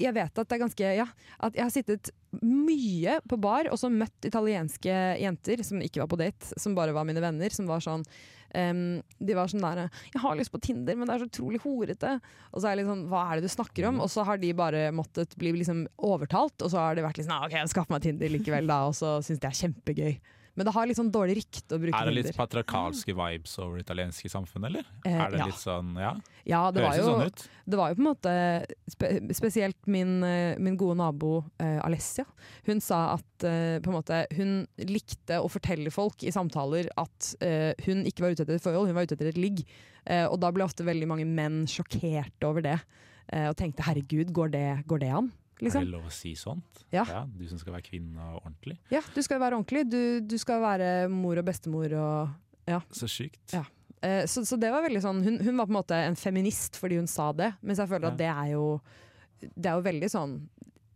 Speaker 3: jeg vet at det er ganske Ja, at jeg har sittet mye på bar og så møtt italienske jenter som ikke var på date, som bare var mine venner, som var sånn em, De var sånn der 'Jeg har lyst på Tinder, men det er så utrolig horete.' Og så er jeg litt sånn 'Hva er det du snakker
Speaker 1: Mm.
Speaker 3: om?' Og så har de bare måttet bli liksom overtalt, og så har det vært litt sånn ah, 'OK, skaff meg Tinder likevel', da, og så syns de det er kjempegøy. Men det har litt sånn dårlig rykte å bruke
Speaker 1: Er det
Speaker 3: Tinder.
Speaker 1: litt patriarkalske vibes over det italienske samfunnet, eller?
Speaker 3: Eh,
Speaker 1: er det
Speaker 3: ja.
Speaker 1: litt sånn, ja?
Speaker 3: Ja, det var,
Speaker 1: Høres
Speaker 3: jo,
Speaker 1: jo sånn ut.
Speaker 3: det var jo på en måte spe, Spesielt min, eh, min gode nabo eh, Alessia. Hun sa at eh, på en måte, hun likte å fortelle folk i samtaler at eh, hun ikke var ute etter et forhold, hun var ute etter et ligg. Eh, og da ble ofte veldig mange menn sjokkert over det. eh, og tenkte 'herregud, går det, går det an?'
Speaker 1: Er
Speaker 3: Liksom.
Speaker 1: det lov å si sånt?
Speaker 3: Ja.
Speaker 1: Du som skal være kvinne og ordentlig?
Speaker 3: Ja, du skal jo være ordentlig. Du, du skal være mor og bestemor og ja.
Speaker 1: Så sykt.
Speaker 3: Ja. Eh, Så, så det var veldig sånn hun, hun var på en måte en feminist fordi hun sa det, mens jeg føler at det er jo Det er jo veldig sånn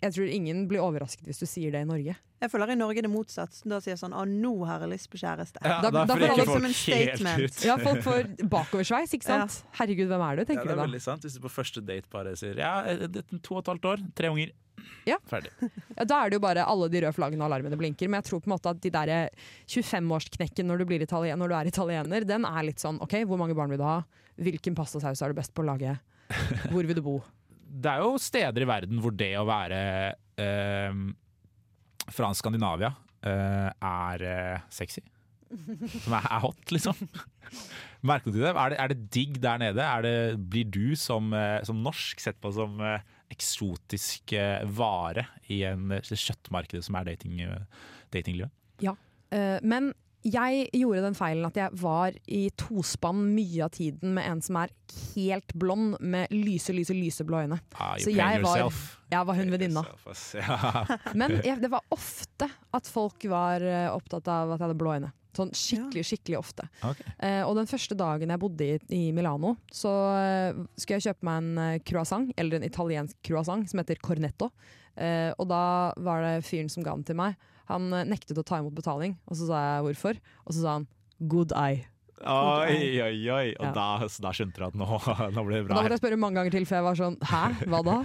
Speaker 3: Jeg tror ingen blir overrasket hvis du sier det i Norge.
Speaker 2: Jeg føler i Norge det er motsatt. Da sier jeg sånn 'Å, nå har jeg lyst på kjæreste'.
Speaker 3: Ja, Da- da da freker får alle folk
Speaker 2: som en
Speaker 3: helt
Speaker 2: statement.
Speaker 1: ut.
Speaker 3: Ja, folk får bakoversveis, ikke sant? Herregud, hvem er du,
Speaker 1: Ja,
Speaker 3: tenker
Speaker 1: det er
Speaker 3: du da.
Speaker 1: veldig sant. Hvis du på første date bare sier ja, eh, det er to og et halvt år, tre unger,
Speaker 3: Ja.
Speaker 1: ferdig.
Speaker 3: Ja, da er det jo bare alle de røde flaggene og alarmene blinker, men jeg tror på en måte at de der 25-årsknekken når, du blir italien- når du er italiener, den er litt sånn OK, hvor mange barn vil du ha? Hvilken pastasaus er du best på å lage? Hvor vil du bo?
Speaker 1: Det er jo steder i verden hvor det å være eh, fra Skandinavia eh, er eh, sexy. Som er, er hot, liksom. Merker du det? Er, det? er det digg der nede? Er det, blir du som, eh, som norsk sett på som eh, eksotisk eh, vare i en, eh, det kjøttmarkedet som er dating, eh, datinglivet?
Speaker 3: Ja, eh, men jeg gjorde den feilen at jeg var i tospann mye av tiden med en som er helt blond med lyse, lyse, lyseblå øyne.
Speaker 1: Ah, you
Speaker 3: Så
Speaker 1: playing
Speaker 3: jeg var,
Speaker 1: yourself.
Speaker 3: jeg var hun venninna.
Speaker 1: Ass, Ja.
Speaker 3: Men jeg, det var ofte at folk var eh, opptatt av at jeg hadde blå øyne. Sånn skikkelig, skikkelig ofte.
Speaker 1: Ok.
Speaker 3: Eh, og den første dagen jeg bodde i, i Milano, så eh, skulle jeg kjøpe meg en eh, croissant, eller en italiensk croissant, som heter cornetto. Eh, og da var det fyren som ga den til meg. Han eh, nektet å ta imot betaling, og så sa jeg hvorfor. Og så sa han good eye.
Speaker 1: Oi, oi, oi. Og
Speaker 3: Ja.
Speaker 1: da, da skjønte du at nå, nå ble det
Speaker 3: Og da
Speaker 1: bra.
Speaker 3: måtte jeg spørre mange ganger til, for jeg var sånn hæ, hva da?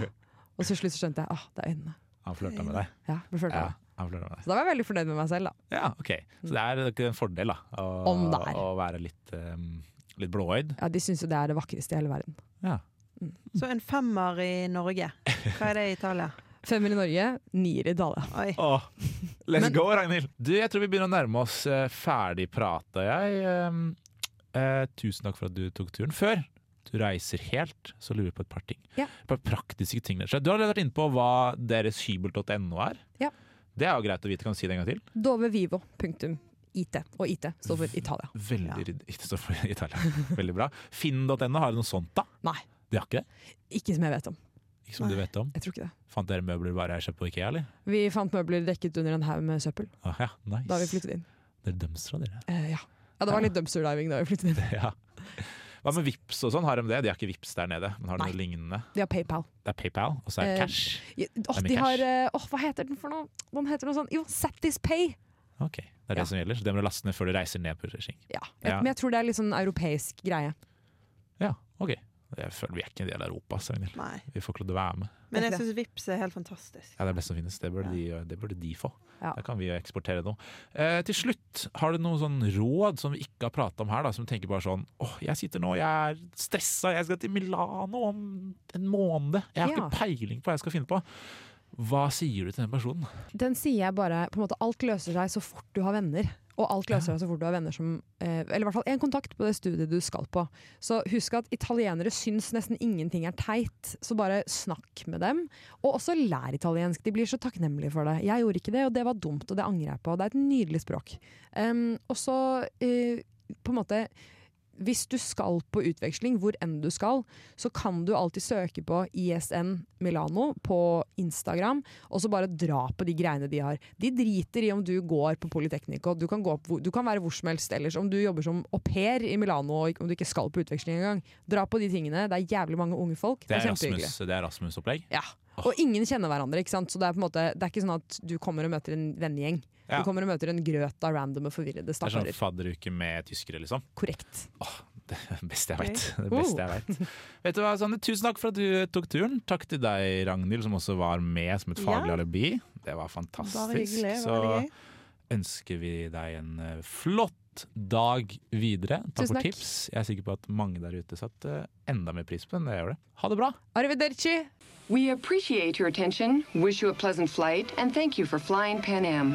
Speaker 3: Og så slutt så skjønte jeg ah, det er øynene.
Speaker 1: Han flørta med deg.
Speaker 3: Ja, ble flørta
Speaker 1: Ja,
Speaker 3: med.
Speaker 1: han flørta med deg.
Speaker 3: Så da var jeg veldig fornøyd med meg selv, da.
Speaker 1: Ja, ok. Så det er ikke en fordel da, å,
Speaker 3: Om det er.
Speaker 1: å være litt, um, litt blåøyd.
Speaker 3: Ja, de syns jo det er det vakreste i hele verden.
Speaker 2: Så en femmer i Norge. Hva er det i Italia?
Speaker 3: Femmer i Norge, nier i Italia.
Speaker 2: Oi.
Speaker 1: Åh, let's
Speaker 3: Men-
Speaker 1: go, Ragnhild! Du, jeg tror vi begynner å nærme oss eh, ferdig prata, jeg. Um, eh, tusen takk for at du tok turen. Før du reiser helt, så lurer jeg på et par ting.
Speaker 3: Ja.
Speaker 1: På praktiske ting. rett og slett. Du har allerede vært inne på hva deres hybel.no er.
Speaker 3: Ja.
Speaker 1: Det er jo greit å vite. Kan du si det en gang til?
Speaker 3: Dovevivo.it. Og IT står for Italia.
Speaker 1: Veldig ryddig. Ikke stå for Italia. Veldig bra. Finn.no, har de noe sånt da?
Speaker 3: Nei,
Speaker 1: De har ikke det?
Speaker 3: ikke som jeg vet om.
Speaker 1: Ikke som du vet om?
Speaker 3: Jeg tror ikke det.
Speaker 1: Fant dere møbler bare jeg kjøpte på Ikea, eller?
Speaker 3: Vi fant møbler dekket under en haug med søppel
Speaker 1: Ah, ja, nice.
Speaker 3: da vi flyttet inn.
Speaker 1: Dere dømstra, dere.
Speaker 3: Eh, ja. ja, det var litt dumpster diving da vi flyttet inn.
Speaker 1: Ja. Hva med Vips og sånn? Har de det? De har ikke Vips der nede, men har de
Speaker 3: Nei.
Speaker 1: noe lignende?
Speaker 3: De har PayPal.
Speaker 1: Det er PayPal, og så er det
Speaker 3: Eh,
Speaker 1: cash.
Speaker 3: Ja, åh,
Speaker 1: er mye
Speaker 3: de har
Speaker 1: cash.
Speaker 3: eh, åh, Hva heter den for noe? Den heter noe sånn Jo, Satispay!
Speaker 1: Ok, Det er det som gjelder. Så det må du laste ned før du reiser ned på Rushing.
Speaker 3: Ja.
Speaker 1: Ja.
Speaker 3: Men jeg tror det er litt sånn europeisk greie.
Speaker 1: Ja, ok. Jeg føler vi er ikke en del av Europa, så Ragnhild.
Speaker 2: Nei.
Speaker 1: Vi får ikke lov til å være med.
Speaker 2: Men jeg syns Vipps er helt fantastisk.
Speaker 1: Ja, Det er det beste som finnes. Det burde, de, det burde de få.
Speaker 3: Ja.
Speaker 1: Da kan vi jo eksportere noe. Eh, til slutt, har du noen sånn råd som vi ikke har prata om her, da, som tenker bare sånn åh, jeg sitter nå, jeg er stressa, jeg skal til Milano om en måned. Jeg har
Speaker 3: Ja.
Speaker 1: ikke peiling på hva jeg skal finne på. Hva sier du til den personen?
Speaker 3: Den sier jeg bare på en måte Alt løser seg så fort du har venner. Og alt løser seg så fort du har venner som eh, Eller i hvert fall én kontakt på det studiet du skal på. Så husk at italienere syns nesten ingenting er teit, så bare snakk med dem. Og også lær italiensk. De blir så takknemlige for det. Jeg gjorde ikke det, og det var dumt, og det angrer jeg på. Det er et nydelig språk. Em, og så eh, på en måte hvis du skal på utveksling, hvor enn du skal, så kan du alltid søke på ISN Milano på Instagram, og så bare dra på de greiene de har. De driter i om du går på Politeknico, du kan, gå på, hvor- du kan være hvor som helst ellers. Om du jobber som au pair i Milano, og om du ikke skal på utveksling engang, dra på de tingene. Det er jævlig mange unge folk.
Speaker 1: Det er
Speaker 3: kjempehyggelig.
Speaker 1: Rasmus- det er Rasmus-opplegg?
Speaker 3: Ja. Og ingen kjenner hverandre, ikke sant? så det er på en måte Det er ikke sånn at du kommer og møter en vennegjeng.
Speaker 1: Ja.
Speaker 3: Du kommer og møter en grøt av random og forvirrede
Speaker 1: Det er sånn
Speaker 3: stakkarer.
Speaker 1: fadderuke med tyskere, liksom?
Speaker 3: Korrekt.
Speaker 1: Åh, det er det beste jeg veit.
Speaker 3: Ok.
Speaker 1: Det beste
Speaker 3: Oh.
Speaker 1: jeg vet. Vet du hva, Sanne, Tusen takk for at du tok turen. Takk til deg, Ragnhild, som også var med som et faglig
Speaker 2: Ja.
Speaker 1: alibi. Det var fantastisk.
Speaker 2: Bare hyggelig,
Speaker 1: Så
Speaker 2: veldig gøy.
Speaker 1: ønsker vi deg en eh, flott dag videre. Takk
Speaker 3: Tusen
Speaker 1: for
Speaker 3: takk.
Speaker 1: tips. Jeg er sikker på at mange der ute satte eh, enda mer pris på den. Det gjør det. Ha det bra!
Speaker 3: Arrivederci!
Speaker 9: We appreciate your attention, wish you a pleasant flight, and thank you for flying Pan Am.